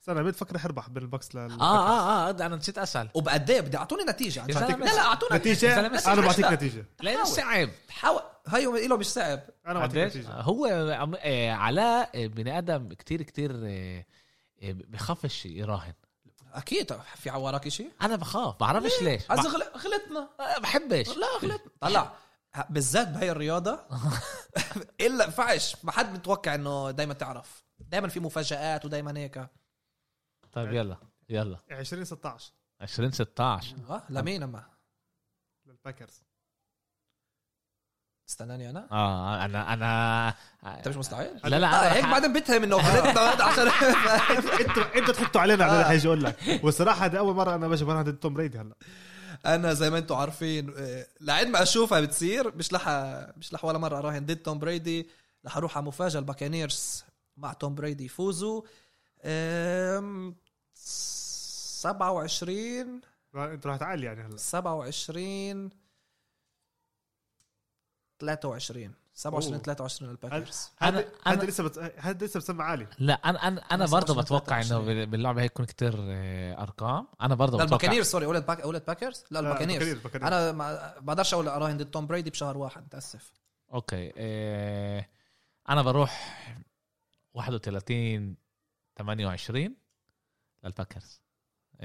انا بتفكر اربح بين البوكس لل
اه اه اه انا نسيت اسال
وبقد ايه بدي اعطوني نتيجه عن
يا
جد.
زلمة.
لا لا اعطونا
نتيجه
زلمة، بس
انا
مش
بعطيك
لا.
نتيجه
لانه
حاول.
صعب
حاول هيو له مش صعب
انا بعطيك
قديش؟
نتيجه
هو عم- إيه، علاء إيه، بني ادم كتير كتير إيه، إيه، بخافش يراهن
اكيد في وراك شيء
انا بخاف بعرفش ليش
هذا
بح-
غل- غلطنا
آه، بحبش
لا غلط طلع ه- بالذات بهي الرياضه الا فعش ما حد متوقع انه دائما تعرف دائما في مفاجات ودائما هيك
طيب يلا يلا
2016
2016
اه لمين اما
للباكرز
استناني انا
اه انا انا
انت مش مستعجل
لا لا
آه
أنا
هيك
رح-
بعدين بتهم انه غلطنا عشان
انتوا انتوا ضحكتوا علينا قبل
آه.
رح يجي اقول لك والصراحه هذه اول مره انا ماشي برهن ضد توم بريدي هلا
انا زي ما انتم عارفين آه، لعين ما اشوفها بتصير مش لح مش لح ولا مره اراهن ضد توم بريدي رح اروح على مفاجاه الباكانيرز مع توم بريدي يفوزوا آم، 27
انت رح تعالي يعني هلا
27 23 27
أوه.
23 الباكرز
أنا-
هذا هذا
أنا-
لسه بت... هذا لسه آه، بسمع عالي
لا انا انا انا
أنا
برضه
17
بتوقع انه
23.
بال- باللعبه هي يكون كتير آه، ارقام انا برضه
لا
بتوقع
الباكانيرز سوري قلت باك قلت باكرز لا الباكانيرز
انا
انا ما بقدرش اقول اراهن ضد توم بريدي بشهر واحد متاسف
اوكي آه، انا بروح 31 28 للباكرز
طيب.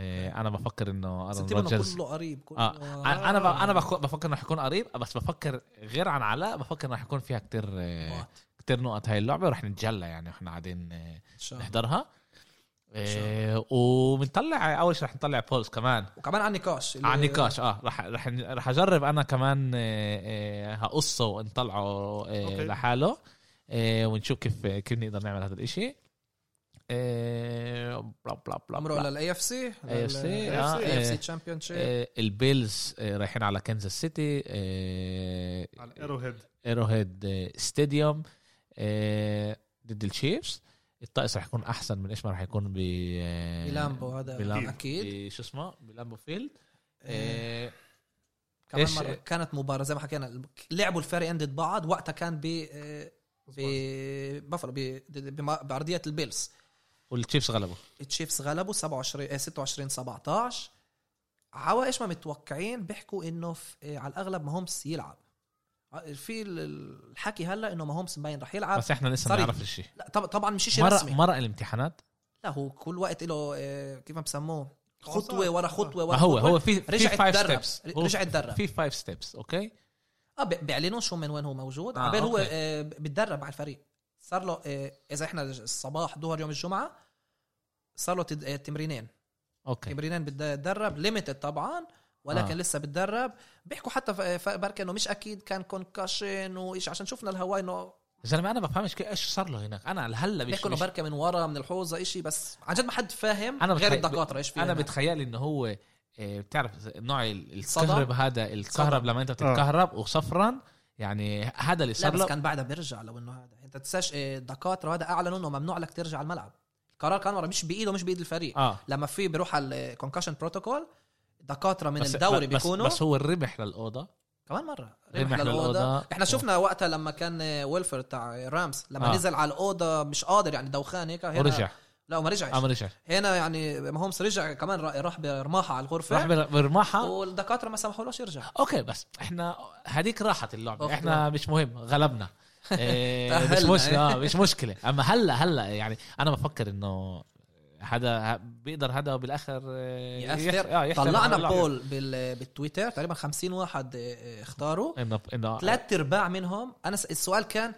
آه، انا بفكر انه ارون
بس التيم إنه
روجرز
كله قريب كله
آه، انا أنا ب- انا بخ- بفكر انه حيكون قريب بس بفكر غير عن علاء بفكر انه حيكون فيها كتير آه،
آه.
كتير نقط هاي اللعبه ورح نتجلى يعني احنا قاعدين آه،
إن شاء الله.
نحضرها إيه وبنطلع اول شيء رح نطلع بولز كمان
وكمان عن نقاش اللي-
على النقاش اه رح رح رح اجرب انا كمان إيه، إيه، هقصه ونطلعه إيه
أوكي.
لحاله إيه ونشوف كيف كيف نقدر نعمل هذا الاشيء إيه بلا بلا بلا,
عمره
بلا.
للاي اف سي
AFC
آه،
اي اف سي
إيه.
تشامبيون شيب
إيه البيلز إيه رايحين على كنزاس سيتي إيه
ايرو هيد
ايرو هيد ستاديوم uh, ضد الشيفز الطقس رح يكون احسن من ايش ما رح يكون ب uh,
بلامبو هذا
بلامبو.
اكيد
ب- شو اسمه بلامبو فيلد
إيه.
إيه،
كمان
إيش-
مره كانت مباراه زي ما حكينا لعبوا الفريقين ضد بعض وقتها كان ب إيه، ببافلو ب- بم- بارضيه البيلز
والتشيفز غلبوا
التشيفز غلبوا 27 إيه، 26 17 عوا ايش ما متوقعين بيحكوا انه في- إيه، على الاغلب ما هومس يلعب آه، في ال- الحكي هلا انه ما هومس مبين رح يلعب
بس احنا لسه ما
صار-
نعرف الشيء
لا طب- طبعا آه، مش شيء
مرة
رسمي
مرة الامتحانات
لا هو كل وقت له آه، كيف ما بسموه
خلاص،
خطوه
آه.
ورا خطوه
ما
ورا
هو
خطوة.
هو في في
رجع
فايف
اتدرب.
ستيبس
رجع اتدرب.
في فايف ستيبس اوكي
اه بي- بيعلنوا شو من وين هو موجود
آه،
آه عبال هو
أوكي.
آه بتدرب على الفريق صار له آه اذا احنا الصباح ظهر يوم الجمعه صار له تد- آه، تمرينين
اوكي
تمرينين بتدرب ليميتد طبعا ولكن
آه.
آه. لسه بتدرب بيحكوا حتى ف- ف- بركي انه مش اكيد كان كونكشن وايش عشان شفنا الهواء انه
يا زلمة انا بفهمش كيف- ايش صار له هناك انا هلا مش,
بيحكوا
مش
انه بركه من ورا من الحوزه إشي بس عن جد ما حد فاهم
أنا
أنا غير
بتخيل-
الدكاتره ايش في
انا
هناك.
بتخيل انه هو آه، بتعرف نوع ال-
صدى؟
الكهرب هذا الكهرب لما انت بتتكهرب وصفرا يعني هذا اللي
لا
صار
بس
له
كان بعدها بيرجع لو انه هذا انت تنساش إيه، الدكاتره هذا اعلنوا انه ممنوع لك ترجع على الملعب القرار كان ورا مش بايده مش بايد الفريق آه.
اه
لما في بيروح على الكونكشن بروتوكول دكاتره من
بس
الدوري
بس,
بيكونوا
بس إيه، هو الربح للاوضه
كمان مره
رمح
رمح للاوضه
للأوضة.
احنا شفنا وقتها لما كان آه، ويلفر تاع رامز لما
آه.
آه. نزل على الاوضه مش قادر يعني دوخان هيك هنا
ورجع
لا ما رجعش
اه ما رجع
هنا يعني ما هومس رجع كمان را- راح برماحه على
راح
الغرفه
بر- برماحه
والدكاتره ما سمحولوش يرجع
اوكي بس احنا هذيك راحت اللعبه
أوكي.
احنا مش مهم غلبنا إيه، مش
تأهلنا.
مشكله آه، مش مشكله اما هلا هلا يعني انا بفكر انه هذا ه- بيقدر هذا بالاخر آه، يح- آه،
يأثر
يحسب
طلعنا
اللعبة.
بول بال- بالتويتر تقريبا 50 واحد آه، آه، اختاروا
انه انه
ثلاث ارباع منهم انا س- السؤال كان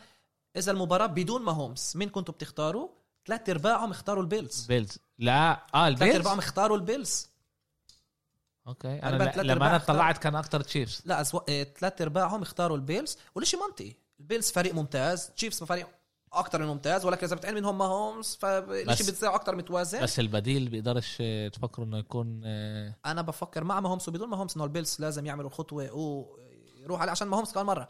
اذا المباراه بدون ما هومس مين كنتوا بتختاروا؟ ثلاث ارباعهم اختاروا البيلز
بيلز لا اه
ثلاث
البيلز
ارباعهم اختاروا البيلز
اوكي
تقريباً
انا
تلات
لما انا
أرباع اختار-
طلعت كان اكتر تشيفز
لا أزو... ثلاث ارباعهم اختاروا البيلز والشيء منطقي البيلز فريق ممتاز تشيفز فريق اكثر من ممتاز ولكن اذا بتعين منهم ما هومز فالشيء
بس-
بتصير اكثر متوازن بس
بس البديل بيقدرش آه، تفكروا انه يكون آه،
انا بفكر مع ما هومز وبدون ما هومز انه البيلز لازم يعملوا خطوه و روح على عشان ما هومس كمان مره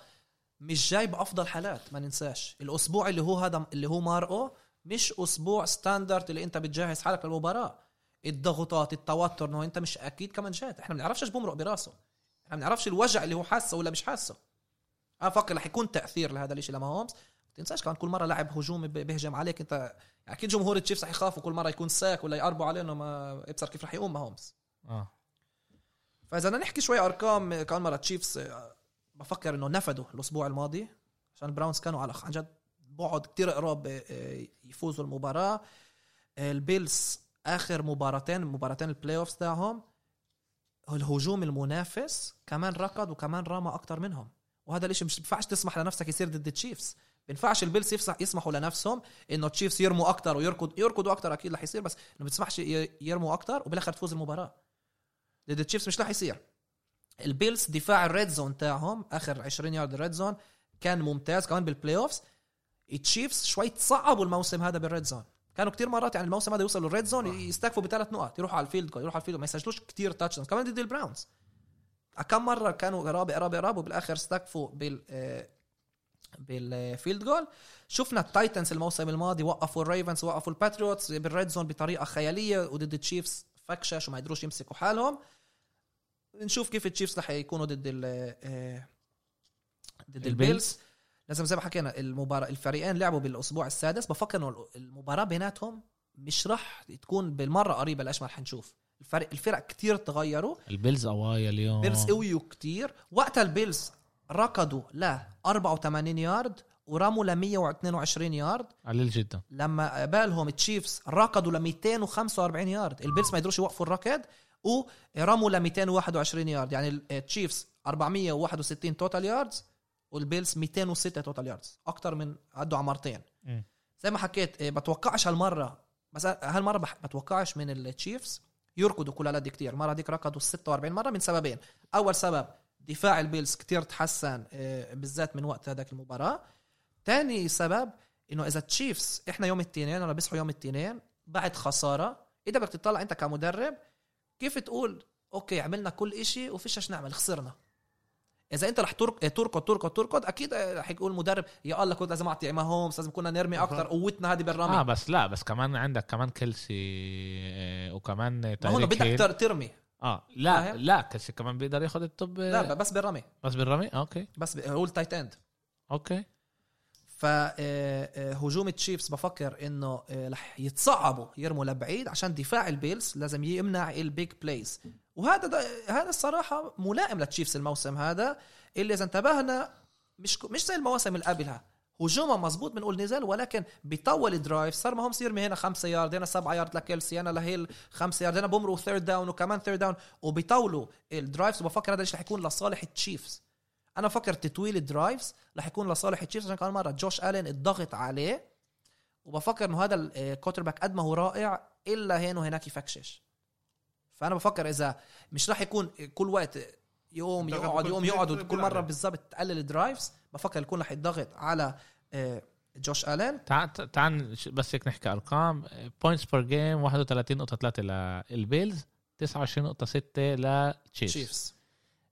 مش جاي بافضل حالات ما ننساش الاسبوع اللي هو هذا اللي هو مارقه مش اسبوع ستاندرد اللي انت بتجهز حالك للمباراه الضغوطات التوتر انه انت مش اكيد كمان جات احنا ما بنعرفش ايش بمرق براسه احنا ما بنعرفش الوجع اللي هو حاسه ولا مش حاسه انا فكر رح يكون تاثير لهذا الشيء لما هومس ما تنساش كمان كل مره لاعب هجومي ب- بيهجم عليك انت اكيد جمهور التشيفز رح يخافوا كل مره يكون ساك ولا يقربوا عليه انه ما ابصر كيف رح يقوم ما هومس
اه
فاذا بدنا نحكي شوي ارقام كمان مره تشيفز آه، بفكر انه نفدوا الاسبوع الماضي عشان البراونز كانوا على عن جد بعد كتير قراب آه، آه، يفوزوا المباراه آه، البيلز اخر مباراتين مباراتين البلاي اوفز تاعهم الهجوم المنافس كمان ركض وكمان رمى اكتر منهم وهذا الاشي مش بينفعش تسمح لنفسك يصير ضد التشيفز بينفعش البيلز يفسح يسمحوا لنفسهم انه التشيفز يرموا اكتر ويركض يركضوا اكتر اكيد رح يصير بس ما بتسمحش ي- يرموا اكتر وبالاخر تفوز المباراه ضد التشيفز مش رح يصير البيلز دفاع الريد زون تاعهم اخر 20 يارد الريد زون كان ممتاز كمان بالبلاي اوفز التشيفز شوي صعبوا الموسم هذا بالريد زون كانوا كتير مرات يعني الموسم هذا يوصلوا للريد زون يستكفوا بثلاث نقط يروحوا على الفيلد جول، يروحوا على الفيلد جول، ما يسجلوش كتير تاتش كمان ضد البراونز كم مره كانوا قرابه قرابه قرابه وبالاخر استكفوا بال آه، بالفيلد جول شفنا التايتنز الموسم الماضي وقفوا الريفنز وقفوا الباتريوتس بالريد زون بطريقه خياليه وضد التشيفز فكشش وما قدروش يمسكوا حالهم نشوف كيف التشيفز رح يكونوا ضد ال آه، ضد
البيلز.
البيلز لازم زي ما حكينا المباراه الفريقين لعبوا بالاسبوع السادس بفكر انه المباراه بيناتهم مش رح تكون بالمره قريبه لايش ما رح نشوف الفرق الفرق كتير تغيروا
البيلز قوايا اليوم
بيلز قويوا كتير وقت البيلز ركضوا ل 84 يارد ورموا ل 122 يارد
قليل جدا
لما قبالهم التشيفز ركضوا ل 245 يارد البيلز ما يقدروش يوقفوا الركض ورموا ل 221 يارد يعني التشيفز 461 توتال ياردز والبيلز 206 توتال ياردز اكتر من عدوا على مرتين
مم.
زي ما حكيت آه، بتوقعش هالمره بس هالمره بح- بتوقعش من التشيفز يركضوا كل هالقد كتير المره ديك ركضوا 46 مره من سببين اول سبب دفاع البيلز كتير تحسن آه، بالذات من وقت هذاك المباراه تاني سبب انه اذا تشيفز احنا يوم الاثنين ولا بيصحوا يوم الاثنين بعد خساره اذا بدك تطلع انت كمدرب كيف تقول اوكي عملنا كل إشي وفيش ايش نعمل خسرنا اذا انت رح ترك- تركض تركض تركض اكيد رح يقول مدرب يا الله كنت لازم اعطي ما هومس لازم كنا نرمي اكثر قوتنا هذه بالرمي
اه بس لا بس كمان عندك كمان كيلسي آه، وكمان
ما هون
تايريك هيل.
بدك تر- ترمي
اه لا
فاهم؟
لا كيلسي كمان بيقدر ياخذ الطب آه،
آه، لا لا، بس بالرمي
بس بالرمي اوكي
بس ب- هو التايت اند
اوكي
آه، فهجوم التشيفز بفكر انه آه، رح يتصعبوا يرموا لبعيد عشان دفاع البيلز لازم يمنع البيج بلايز وهذا ده هذا الصراحه ملائم للتشيفز الموسم هذا اللي اذا انتبهنا مش مش زي المواسم اللي قبلها هجومهم مزبوط بنقول نزال ولكن بيطول درايف صار ما هم يرمي هنا خمسة يارد هنا سبعة يارد لكيلسي هنا لهيل خمسة يارد هنا بمروا ثيرد داون وكمان ثيرد داون وبيطولوا الدرايفز وبفكر هذا الشيء رح يكون لصالح التشيفز انا بفكر تطويل الدرايفز رح يكون لصالح التشيفز عشان كمان مره جوش الين الضغط عليه وبفكر انه هذا الكوتر باك قد ما هو رائع الا هنا وهناك يفكشش فانا بفكر اذا مش رح يكون كل وقت يقوم
الضغط
يقعد
كل-
يقوم يقعد
كل-
كل
كل
مره
عليه.
بالظبط تقلل الدرايفز بفكر يكون رح يتضغط على آه، جوش الين
تعال تعال ش- بس هيك نحكي آه، ارقام بوينتس بير جيم 31.3 للبيلز 29.6 للتشيفز
تشيفز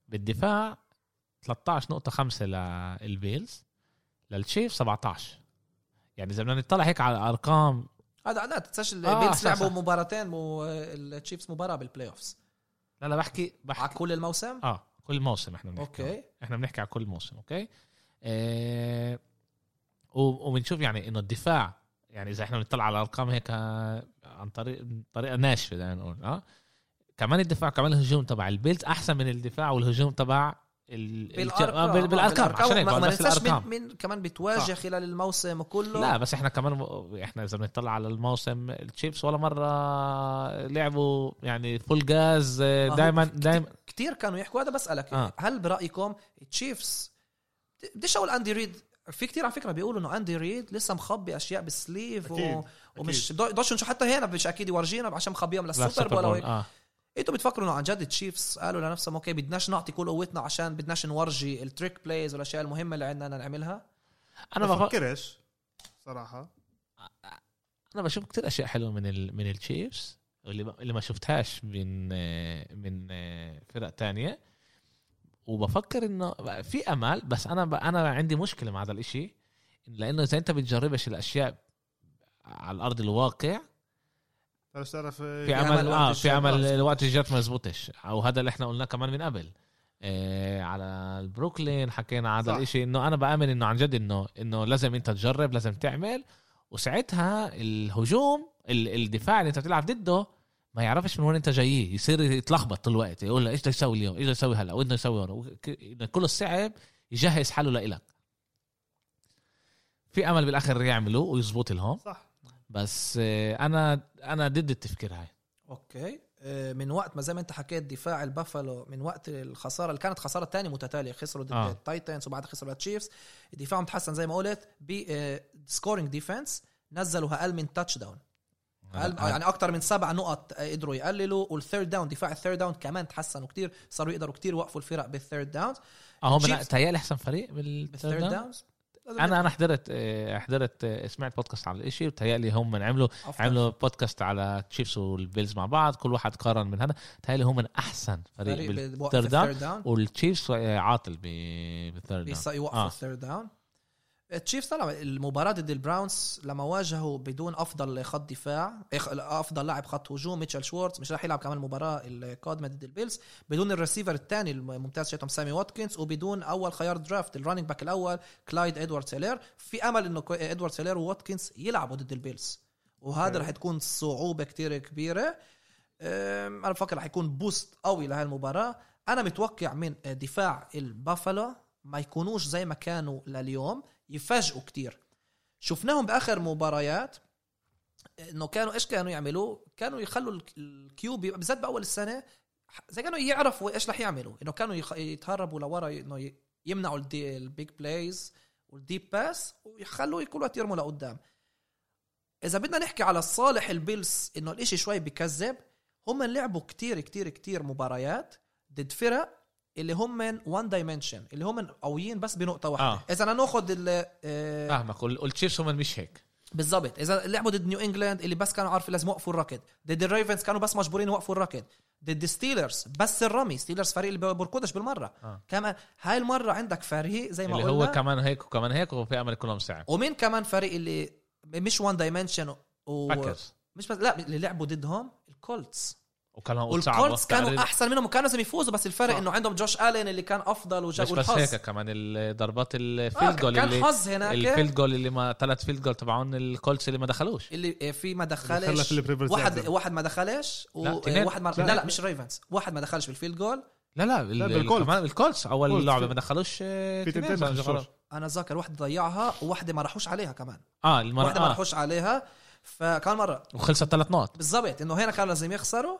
بالدفاع 13.5 للبيلز للتشيف 17 يعني اذا بدنا نطلع هيك على ارقام
هذا لا تنساش
آه،
البيلز
صح،
لعبوا
صح.
مباراتين والتشيفز مباراه بالبلاي اوفز
لا لا بحكي
على
بحكي
كل الموسم
اه كل موسم احنا بنحكي
اوكي
احنا بنحكي على كل موسم اوكي آه و- وبنشوف يعني انه الدفاع يعني اذا احنا بنطلع على ارقام هيك آه، عن طريق طريقه ناشفه بدنا نقول اه كمان الدفاع كمان الهجوم تبع البيلز احسن من الدفاع والهجوم تبع ال... آه،
بالارقام
بال- بالارقام عشان هيك
ما
بقول
ما
بس
ننساش
الارقام
مين, مين كمان بتواجه خلال الموسم وكله
لا بس احنا كمان احنا اذا بنطلع على الموسم التشيبس ولا مره لعبوا يعني فول جاز
هو
دائما دائما
آه، كتير كانوا يحكوا هذا بسألك
آه.
آه. هل برأيكم تشيفز بديش اقول اندي ريد في كتير على فكره بيقولوا انه اندي ريد لسه مخبي اشياء بالسليف و...
أكيد.
ومش دو- دوش شو حتى هنا مش اكيد يورجينا عشان مخبيهم للسوبر بول
للسوبر
أو
بول
هيك.
اه
انتوا بتفكروا انه عن جد تشيفز قالوا لنفسهم اوكي بدناش نعطي كل قوتنا عشان بدناش نورجي التريك بلايز والاشياء المهمه اللي عندنا نعملها
انا
ما
بفكر
بفكرش صراحه
انا بشوف كتير اشياء حلوه من ال... من التشيبس اللي ما... اللي ما شفتهاش من آه، من آه، فرق تانية وبفكر انه في امل بس انا ب... انا عندي مشكله مع هذا الاشي لانه اذا انت بتجربش الاشياء على الارض الواقع
تعرف تعرف
في
آه،
عمل
عمل
اه
وقت
في
الشغل.
عمل وقت الجت ما زبطش او هذا اللي احنا قلناه كمان من قبل آه على البروكلين حكينا على هذا
صح.
الاشي انه انا بامن انه عن جد انه انه لازم انت تجرب لازم تعمل وساعتها الهجوم ال- الدفاع اللي انت بتلعب ضده ما يعرفش من وين انت جاي يصير يتلخبط طول الوقت يقول له ايش بدك تسوي اليوم ايش بدك تسوي هلا وين بدك تسوي هون وك- إنه كل الصعب يجهز حاله لإلك في امل بالاخر يعملوا ويزبط لهم
صح
بس آه، انا انا ضد التفكير هاي
اوكي آه، من وقت ما زي ما انت حكيت دفاع البافالو من وقت الخساره اللي كانت خساره تانية متتاليه خسروا ضد
آه.
التايتنز وبعدها خسروا التشيفز دفاعهم تحسن زي ما قلت بسكورينج ديفense نزلوا اقل من تاتش داون
آه،
أقل يعني اكتر من سبع نقط آه، قدروا يقللوا والثيرد داون دفاع الثيرد داون كمان تحسنوا كتير صاروا يقدروا كتير يوقفوا الفرق بالثيرد داون
اه هم
Chiefs.
تهيألي احسن فريق بالثيرد
بالثيرد
داون
داونز
انا انا حضرت آه، حضرت آه، سمعت بودكاست على الاشي بتهيألي هم من عملوا عملوا بودكاست على تشيفز والبيلز مع بعض كل واحد قارن من هذا بتهيألي هم من احسن فريق بالثيرد داون
الثيرد داون
والتشيفز آه، عاطل ب- بالثيرد داون
بيص- يوقفوا
آه.
الثيرد داون التشيفز طلع المباراة ضد البراونز لما واجهوا بدون افضل خط دفاع إخ- افضل لاعب خط هجوم ميتشل شوارتز مش راح يلعب كمان المباراة القادمة ضد البيلز بدون الرسيفر الثاني الممتاز شاتهم سامي واتكنز وبدون اول خيار درافت الرننج باك الاول كلايد ادوارد سيلير في امل انه كو- ادوارد سيلير وواتكنز يلعبوا ضد البيلز وهذا
أوكي.
رح تكون صعوبة كتير كبيرة أم، انا بفكر رح يكون بوست قوي لهي المباراه انا متوقع من دفاع البافالو ما يكونوش زي ما كانوا لليوم يفاجئوا كتير شفناهم باخر مباريات انه كانوا ايش كانوا يعملوا كانوا يخلوا ال- الكيوب يبقى- بالذات باول السنه ح- زي كانوا يعرفوا ايش رح يعملوا انه كانوا يخ- يتهربوا لورا انه ي- يمنعوا الدي- البيج بلايز والديب باس ويخلوا كل وقت يرموا لقدام اذا بدنا نحكي على الصالح البيلز انه الاشي شوي بكذب هم لعبوا كتير كتير كتير مباريات ضد فرق اللي هم وان دايمنشن اللي هم قويين بس بنقطه واحده
آه.
آه. اذا ناخذ ال آه،
فاهمك وال- والتشيفز هم مش هيك
بالضبط اذا لعبوا ضد نيو انجلاند اللي بس كانوا عارفين لازم يوقفوا الركض ضد الريفنز كانوا بس مجبورين يوقفوا الركض ضد ستيلرز بس الرمي ستيلرز فريق اللي بيركضش بالمره
آه.
آه. كمان هاي المره عندك فريق زي ما
اللي
قلنا
هو كمان هيك وكمان هيك وفي امل كلهم صعب
ومين كمان فريق اللي مش وان دايمنشن و...
باكرز
مش بس لا اللي لعبوا ضدهم الكولتس
وكلهم صعب
والكولتس كانوا
وتعرض.
احسن منهم وكانوا لازم يفوزوا بس الفرق
صح.
انه عندهم جوش الين اللي كان افضل وجا
مش بس
والحظ
هيك كمان ضربات
آه
الفيلد جول
كان
اللي
حظ هناك
الفيلد جول اللي ما ثلاث فيلد جول تبعون الكولتس اللي ما دخلوش
اللي آه، في ما
خلى
دخلش
فيليب ريفرز
واحد
يعزل.
واحد ما دخلش
لا، تنين-
وواحد ما
تنين.
لا لا مش ريفنز واحد ما دخلش بالفيلد جول
لا لا, ال- ال-
بالكولتس.
كمان الكولتس اول
كولتس.
لعبه ما دخلوش آه،
في
تنين
تنتين ما
صار-
خشوش.
انا ذاكر واحد ضيعها وواحده ما راحوش عليها كمان
اه المره
واحده ما
آه.
راحوش عليها فكان مره
وخلصت ثلاث نقط
بالضبط انه هنا كانوا لازم يخسروا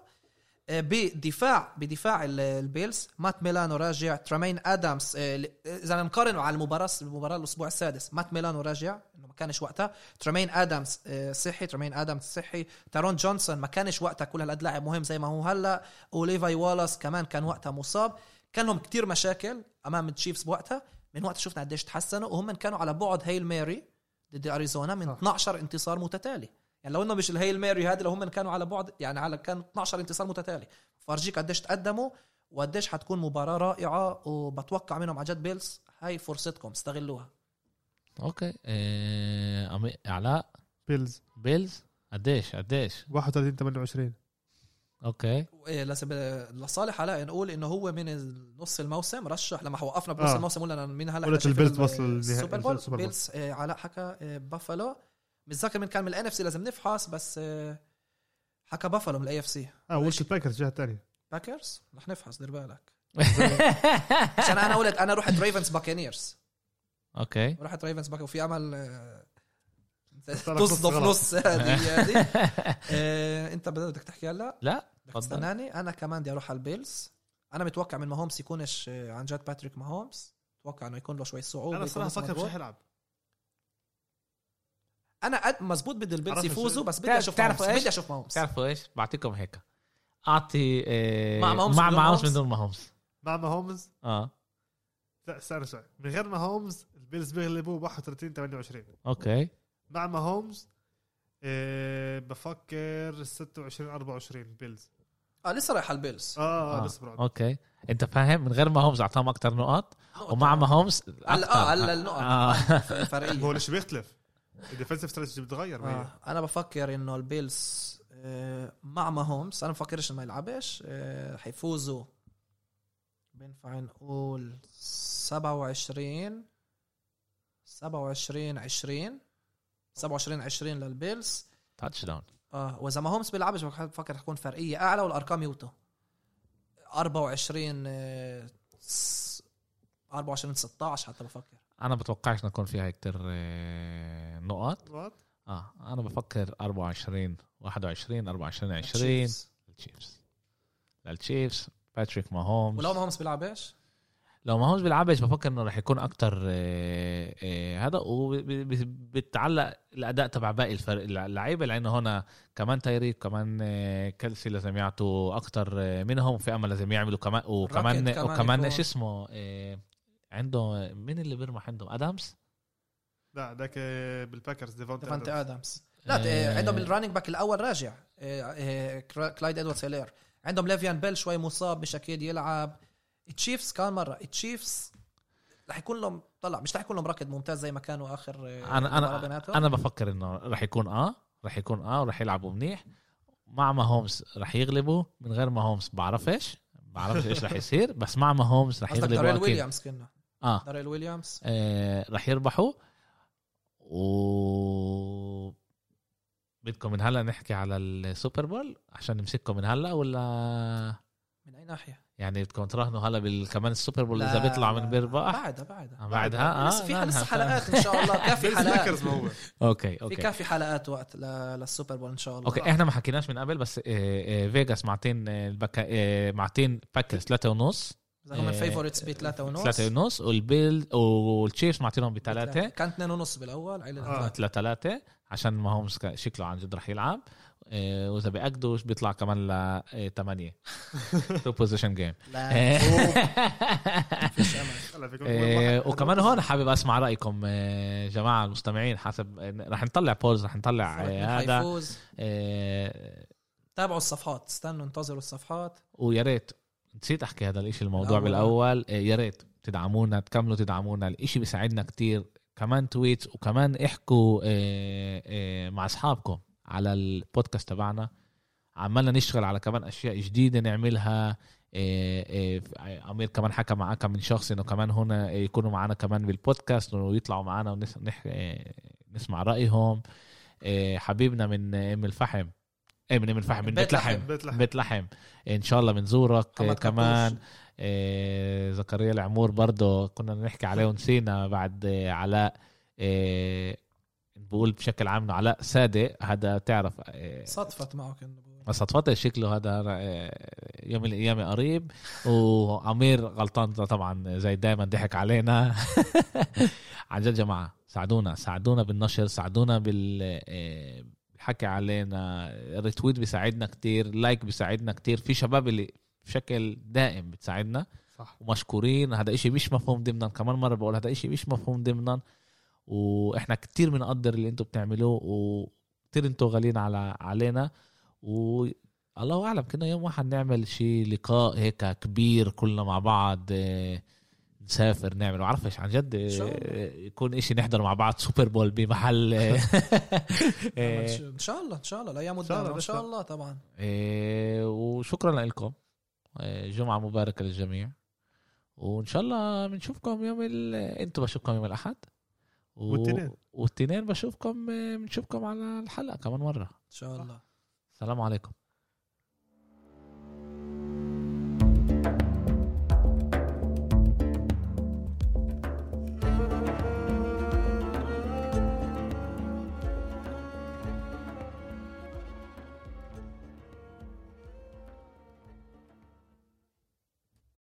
آه، بدفاع بدفاع ال- البيلز مات ميلانو راجع ترامين ادمز آه، ل- آه، اذا نقارنه على المباراه المباراه الاسبوع السادس مات ميلانو راجع انه ما كانش وقتها ترامين ادمز آه، صحي ترامين ادمز صحي تارون جونسون ما كانش وقتها كل هالقد لاعب مهم زي ما هو هلا وليفاي والاس كمان كان وقتها مصاب كان لهم كتير مشاكل امام التشيفز بوقتها من وقت شفنا قديش تحسنوا وهم كانوا على بعد هيل ماري ضد اريزونا من
صح.
12 انتصار متتالي يعني لو انه مش الهيل ماري هذه لو هم كانوا على بعد يعني على كان 12 انتصار متتالي فرجيك قديش تقدموا وقديش حتكون مباراه رائعه وبتوقع منهم عن جد بيلز هاي فرصتكم استغلوها
اوكي آه، أمي- علاء
بيلز
بيلز قديش قديش
31 28
اوكي
إيه، لسب- لصالح هلا نقول انه هو من نص الموسم رشح لما وقفنا بنص
آه.
آه. الموسم قلنا مين هلا
قلت
إحنا
البيلز
شايفين
وصلوا للنهائي-
السوبر بول
السوبر بول.
بيلز آه، علاء حكى آه، بافالو متذكر من كان من الان اف سي لازم نفحص بس آه، حكى بافالو من الاي اف سي
اه قلت الباكرز الجهه الثانيه
باكرز رح نفحص دير بالك عشان انا قلت انا رحت ريفنز باكينيرز
اوكي
رحت ريفنز باك وفي امل آه،
طلع نص
تصدف
غلط.
نص هذه هذه آه، انت بدك تحكي هلا
لا
بدك
تفضل.
تستناني انا كمان بدي اروح على البيلز انا متوقع من ماهومس يكونش آه، عن جد باتريك ماهومس اتوقع انه يكون له شوي صعوبه يكون
انا الصراحه
لسه
فكر مش
مضغوط.
رح يلعب
انا قد- مزبوط بدي البيلز
عرفنا
يفوزوا
شو-
بس بدي
تعرف-
اشوف
تعرف
ماهومس
إيش؟
بدي اشوف ماهومس
بتعرفوا ايش بعطيكم هيك اعطي آه،
مع ماهومس
مع
بدون
ماهومس
ماهومس؟
بدون ماهومس
مع ما هومز
اه
لا استنى شوي من غير ما هومز البيلز بيغلبوه 31 28
اوكي
مع ما هومز آه، بفكر 26 24 بيلز
اه لسه رايح على البيلز
اه
آه.
اه لسه برعد
اوكي انت فاهم من غير ما هومز اعطاهم اكثر نقط ومع ما هومز
هلا اه هلا النقط
آه.
ما هو
فرقيه
ليش بيختلف الديفنسيف ستراتيجي بتتغير ما هي.
آه. انا بفكر انه البيلز آه، مع ما هومس انا بفكرش انه ما يلعبش آه، حيفوزوا بينفع نقول 27 27 20 27 20 للبيلز
تاتش داون
اه واذا ما هومس بيلعبش بفكر حتكون فرقيه اعلى والارقام يوتو 24 آه، س- 24 16 حتى بفكر
انا بتوقعش نكون فيها كتير آه، نقط
برعد؟
اه انا بفكر 24 21 24 20 للتشيفز للتشيفز باتريك ماهومز
ولو ما هومس بيلعبش
لو ما هومز بيلعبش بفكر انه رح يكون اكتر آه، آه، هذا وبتعلق الاداء تبع باقي الفرق اللعيبه لانه هنا كمان تايريك كمان آه، كلسي لازم يعطوا اكتر آه، منهم في امل لازم يعملوا كمان وكمان
راكد كمان
وكمان
يكون.
شو اسمه آه، عنده مين اللي بيرمح عندهم ادمز
لا ذاك آه، بالباكرز ديفونت
ديفانتي
آدمز.
ادمز لا
آه.
آه، عندهم الرانينج باك الاول راجع آه، آه، كرا- كلايد ادوارد سيلير عندهم ليفيان بيل شوي مصاب مش اكيد يلعب التشيفز كان مره التشيفز رح يكون لهم طلع مش رح يكون لهم ركض ممتاز زي ما كانوا اخر آه،
انا
مباراة
انا
بيناتهم.
انا بفكر انه رح يكون اه رح يكون اه ورح يلعبوا منيح مع ما هومز رح يغلبوا من غير ما هومز بعرفش بعرفش ايش رح يصير بس مع ما هومز رح
قصدك
يغلبوا
داريل
اكيد
ويليامز كنا
اه
داريل ويليامز
آه، رح يربحوا و بدكم من هلا نحكي على السوبر بول عشان نمسككم من هلا ولا
من اي ناحيه
يعني بدكم تراهنوا هلا بال- كمان السوبر بول
لا،
اذا بيطلع من
لا،
بيربح
بعدها بعدها
آه، بعدها اه
لسه في لسه
لا،
حلقات ان شاء الله كافي حلقات
بالباكرز ما هو
اوكي
في
اوكي
كافي حلقات وقت ل- للسوبر بول ان شاء الله
اوكي احنا ما حكيناش من قبل بس آه، آه، فيجاس معتين آه، البكا آه، معتين باكرز 3 ونص
إذا هم
إيه،
الفيفورتس بثلاثة ونص
3 ونص والبيل والتشيفز معتينهم بثلاثه
كان اثنين ونص بالاول عيل
آه.
الأطلانتي.
3 3 عشان ما هو شكله عن جد رح يلعب آه، واذا بيأجدوا بيطلع كمان ل آه، 8 تو بوزيشن جيم
لا فيش امل
هلا فيكم
إيه،
واحد.
وكمان هون حابب اسمع رايكم آه، جماعه المستمعين حسب آه، رح نطلع بولز رح نطلع آه، هذا
حيفوز
آه،
تابعوا الصفحات استنوا انتظروا الصفحات
ويا ريت نسيت احكي هذا الاشي الموضوع
الأول.
بالاول آه، يا ريت تدعمونا تكملوا تدعمونا الاشي بيساعدنا كتير كمان تويتس وكمان احكوا آه، آه، مع اصحابكم على البودكاست تبعنا عمالنا نشتغل على كمان اشياء جديده نعملها آه، آه، امير كمان حكى مع كم من شخص انه كمان هنا إيه، يكونوا معنا كمان بالبودكاست ويطلعوا معنا ونسمع إيه، نسمع رايهم آه، حبيبنا من ام الفحم ايه من ام الفحم من بيت
بيت
لحم
لحم.
بيت لحم
بيت لحم ان شاء الله بنزورك آه،
محمد
كمان
كابوش.
آه، زكريا العمور برضه كنا نحكي عليه ونسينا بعد آه، علاء آه، بقول بشكل عام انه علاء صادق هذا تعرف آه،
صدفت معه كنا بقول.
ما صدفته شكله هذا آه، يوم من الايام قريب وعمير غلطان طبعا زي دايما ضحك علينا عن جد جماعه ساعدونا ساعدونا بالنشر ساعدونا بال آه، بالحكي علينا ريتويت بيساعدنا كتير لايك بيساعدنا كتير في شباب اللي بشكل دائم بتساعدنا
صح
ومشكورين هذا إشي مش مفهوم ضمنا كمان مرة بقول هذا إشي مش مفهوم ضمنا وإحنا كتير بنقدر اللي أنتم بتعملوه وكتير أنتم غاليين على علينا و الله أعلم كنا يوم واحد نعمل شي لقاء هيك كبير كلنا مع بعض آه، نسافر نعمل بعرفش عن جد آه،
شاء الله.
يكون إشي نحضر مع بعض سوبر بول بمحل آه،
نعمل
آه،
شو- ان شاء الله ان شاء الله الايام
إن شاء الله،
قدامنا ان
بس
شاء
لا.
الله طبعا
آه، وشكرا لكم آه، جمعة مباركة للجميع وإن شاء الله بنشوفكم يوم ال... أنتوا بشوفكم يوم الأحد و...
والتنين.
والتنين بشوفكم آه، بنشوفكم على الحلقة كمان مرة
ان شاء الله
السلام عليكم